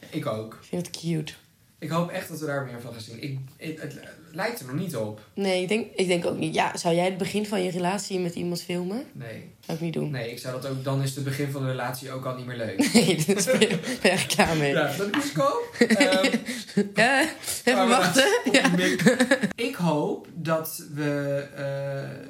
[SPEAKER 1] Ik ook.
[SPEAKER 2] Ik vind het cute.
[SPEAKER 1] Ik hoop echt dat we daar meer van gaan zien. Ik, het, het lijkt er nog niet op.
[SPEAKER 2] Nee, ik denk, ik denk ook niet. Ja, zou jij het begin van je relatie met iemand filmen?
[SPEAKER 1] Nee.
[SPEAKER 2] Zou ik niet doen.
[SPEAKER 1] Nee, ik zou dat ook... Dan is het begin van de relatie ook al niet meer leuk.
[SPEAKER 2] Nee, dat is- ben ik echt klaar mee.
[SPEAKER 1] Ja, dat is koop. Ehm,
[SPEAKER 2] Eh, even
[SPEAKER 1] Waar we
[SPEAKER 2] wachten. Ja.
[SPEAKER 1] Ik hoop dat we... eh,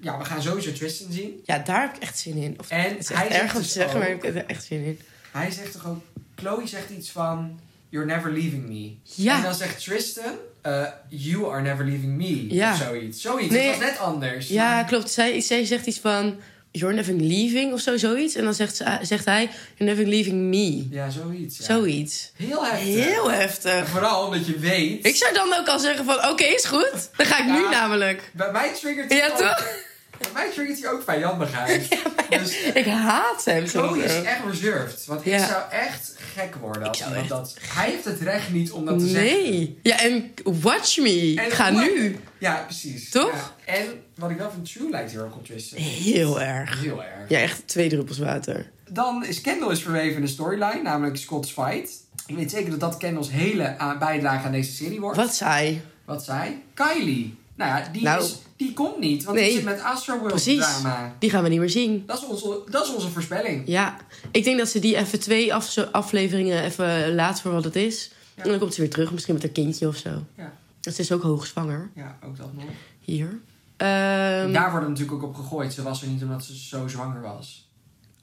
[SPEAKER 1] ja, we gaan sowieso Tristan zien.
[SPEAKER 2] ja, daar heb ik echt zin in. Of,
[SPEAKER 1] En
[SPEAKER 2] het is echt
[SPEAKER 1] hij zegt
[SPEAKER 2] erg om te
[SPEAKER 1] dus
[SPEAKER 2] zeggen, maar
[SPEAKER 1] ook-
[SPEAKER 2] ik heb er echt zin in.
[SPEAKER 1] Hij zegt toch ook... Chloe zegt iets van... You're never leaving me. En
[SPEAKER 2] Ja,
[SPEAKER 1] dan zegt Tristan... eh, you are never leaving me.
[SPEAKER 2] Ja.
[SPEAKER 1] Of zoiets. Zoiets.
[SPEAKER 2] Nee.
[SPEAKER 1] Het was net anders.
[SPEAKER 2] ja klopt. Zij, zij zegt iets van... You're never leaving of zo, zoiets. En dan zegt, ze- zegt hij... You're never leaving me.
[SPEAKER 1] Ja, zoiets. ja.
[SPEAKER 2] Zoiets.
[SPEAKER 1] Heel heftig.
[SPEAKER 2] Heel
[SPEAKER 1] En
[SPEAKER 2] heftig.
[SPEAKER 1] Vooral omdat je weet...
[SPEAKER 2] Ik zou dan ook al zeggen van... Oké, is goed. Dan ga ik nu
[SPEAKER 1] Ja.
[SPEAKER 2] namelijk.
[SPEAKER 1] Bij mij triggert hij
[SPEAKER 2] Ja,
[SPEAKER 1] ook...
[SPEAKER 2] toch?
[SPEAKER 1] Bij mij triggert hij ook vijandigheid. dus
[SPEAKER 2] Ik haat hem zo.
[SPEAKER 1] Chloe is echt reserved. Want
[SPEAKER 2] Ja.
[SPEAKER 1] ik zou echt gek worden als
[SPEAKER 2] Ik zou
[SPEAKER 1] iemand dat... Hij heeft het recht niet om dat te zeggen.
[SPEAKER 2] Nee. Ja, en watch me.
[SPEAKER 1] En
[SPEAKER 2] ik ga
[SPEAKER 1] hoe-
[SPEAKER 2] nu.
[SPEAKER 1] Ja, precies.
[SPEAKER 2] Toch?
[SPEAKER 1] Ja. En wat ik wel van True lijkt heel erg op Tristan.
[SPEAKER 2] Heel erg.
[SPEAKER 1] Heel erg.
[SPEAKER 2] Ja, echt twee druppels water.
[SPEAKER 1] Dan is Kendall is verweven in de storyline, namelijk Scott's fight. Ik weet zeker dat dat Kendall's hele a- bijdrage aan deze serie wordt.
[SPEAKER 2] Wat saai.
[SPEAKER 1] Wat zei? Kylie. Nou ja, die,
[SPEAKER 2] Nou.
[SPEAKER 1] is, die komt niet, want
[SPEAKER 2] Nee.
[SPEAKER 1] die zit met Astro World
[SPEAKER 2] Precies.
[SPEAKER 1] drama.
[SPEAKER 2] Die gaan we niet meer zien.
[SPEAKER 1] Dat is onze, dat is onze voorspelling.
[SPEAKER 2] Ja, ik denk dat ze die even twee af- afleveringen even laat voor wat het is.
[SPEAKER 1] Ja.
[SPEAKER 2] En dan komt ze weer terug, misschien met haar kindje of zo.
[SPEAKER 1] Ja.
[SPEAKER 2] Dus Ze is ook hoogzwanger
[SPEAKER 1] Ja, ook dat nog.
[SPEAKER 2] hier. Ehm,
[SPEAKER 1] Daar wordt er natuurlijk ook op gegooid. Ze was er niet omdat ze zo zwanger was.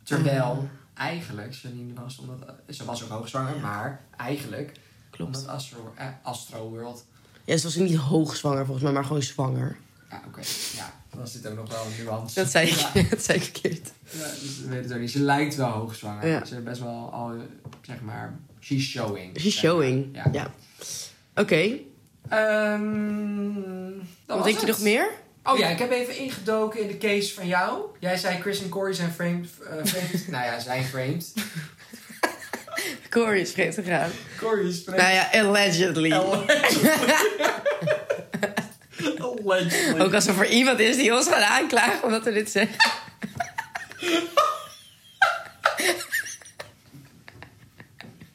[SPEAKER 1] Terwijl eigenlijk ze niet was omdat... Ze was ook hoogzwanger, maar eigenlijk...
[SPEAKER 2] Klopt.
[SPEAKER 1] Omdat Astro, eh, Astro World...
[SPEAKER 2] Ja, ze was niet hoogzwanger volgens mij, maar gewoon zwanger.
[SPEAKER 1] Ja, oké. Ja, dan zit ook nog wel een nuance.
[SPEAKER 2] Dat zei ik,
[SPEAKER 1] Ja,
[SPEAKER 2] dat zei ik verkeerd.
[SPEAKER 1] ja, dus we weten het ook niet. Ze lijkt wel hoogzwanger.
[SPEAKER 2] Ja.
[SPEAKER 1] Ze is best wel al, eh, zeg maar... She's showing.
[SPEAKER 2] She's
[SPEAKER 1] zeg maar.
[SPEAKER 2] showing. Ja.
[SPEAKER 1] Ja.
[SPEAKER 2] Oké,
[SPEAKER 1] Ehm, dat
[SPEAKER 2] wat
[SPEAKER 1] was
[SPEAKER 2] denk je
[SPEAKER 1] het.
[SPEAKER 2] nog meer?
[SPEAKER 1] Oh ja, ik heb even ingedoken in de case van jou. Jij zei Chris en Corey zijn framed. eh, framed. nou ja, zijn framed.
[SPEAKER 2] Corey is vreemd gegaan.
[SPEAKER 1] Corey is framed.
[SPEAKER 2] Nou ja, allegedly.
[SPEAKER 1] Oh, Allegedly.
[SPEAKER 2] Ook als er voor iemand is die ons gaat aanklagen omdat we dit zeggen.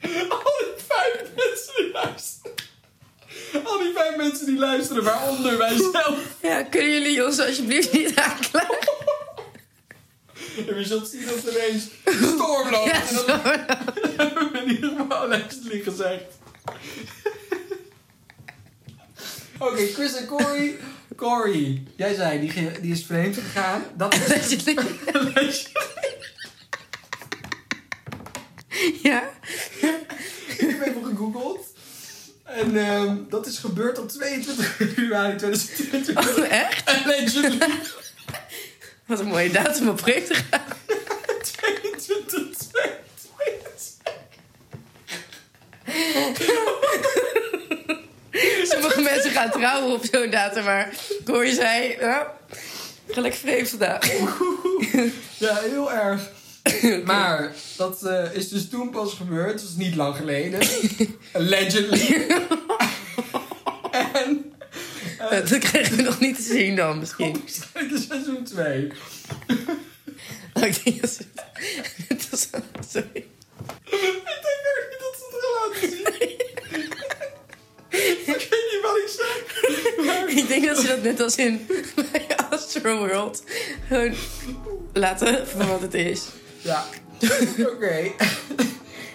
[SPEAKER 1] Al die vijf mensen die luisteren. Al die vijf mensen die luisteren, waaronder wij zelf.
[SPEAKER 2] Ja, kunnen jullie ons alsjeblieft niet aanklagen?
[SPEAKER 1] En we zullen zien dat er ineens storm loopt.
[SPEAKER 2] Ja,
[SPEAKER 1] en dan
[SPEAKER 2] sorry.
[SPEAKER 1] hebben we in ieder geval allegedly gezegd. Oké, Chris en Corey. Corey, jij zei die, ge- die is vreemd gegaan. Dat is
[SPEAKER 2] Allegedly. Ja.
[SPEAKER 1] Ik heb even gegoogeld. En ehm, dat is gebeurd op 22 februari 2022.
[SPEAKER 2] Oh, echt?
[SPEAKER 1] Allegedly.
[SPEAKER 2] Wat een mooie datum om vreemd te gaan.
[SPEAKER 1] 22, 22.
[SPEAKER 2] Sommige mensen gaan trouwen op zo'n datum, maar Corrie zei... Nou, ik ga lekker vreemd vandaag.
[SPEAKER 1] Ja, heel erg. Maar dat eh, is dus toen pas gebeurd. Dat is niet lang geleden. Allegedly. en
[SPEAKER 2] Eh, Dat krijgen we nog niet te zien dan, misschien.
[SPEAKER 1] komt uit de seizoen 2.
[SPEAKER 2] Oh, ik denk dat ze... dat is- Sorry.
[SPEAKER 1] Ik denk ook niet dat ze het gaan laten zien. Ik weet niet wat ik zeg.
[SPEAKER 2] Ik denk dat ze dat net als in bij Astro World gewoon laten van wat het is.
[SPEAKER 1] Ja. Oké.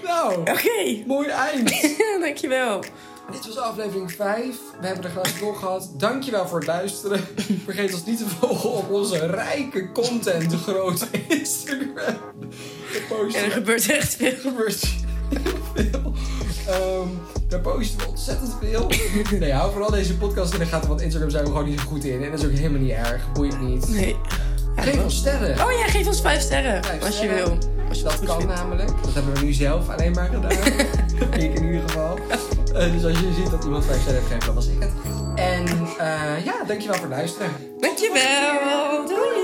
[SPEAKER 1] nou,
[SPEAKER 2] Oké,
[SPEAKER 1] mooi eind.
[SPEAKER 2] dankjewel.
[SPEAKER 1] Dit was aflevering 5. We hebben er gelijk door gehad. Dankjewel voor het luisteren. Vergeet ons niet te volgen op onze rijke content grote Instagram. We
[SPEAKER 2] En er
[SPEAKER 1] posten
[SPEAKER 2] gebeurt echt veel.
[SPEAKER 1] gebeurt veel. Ehm, daar posten we ontzettend veel. Nee, hou vooral deze podcast in de gaten, want Instagram zijn we gewoon niet zo goed in. En dat is ook helemaal niet erg. Boeit niet.
[SPEAKER 2] Nee.
[SPEAKER 1] Geef ons sterren.
[SPEAKER 2] Oh ja, geef ons vijf sterren.
[SPEAKER 1] Vijf
[SPEAKER 2] als je wil.
[SPEAKER 1] sterren.
[SPEAKER 2] Als je
[SPEAKER 1] Dat
[SPEAKER 2] goed
[SPEAKER 1] kan
[SPEAKER 2] vindt.
[SPEAKER 1] namelijk. Dat hebben we nu zelf alleen maar gedaan. ik in ieder geval. Eh, dus als je ziet dat iemand vijf sterren heeft gegeven, dan was ik het. En eh, ja, dankjewel voor het luisteren.
[SPEAKER 2] Dankjewel. Doei.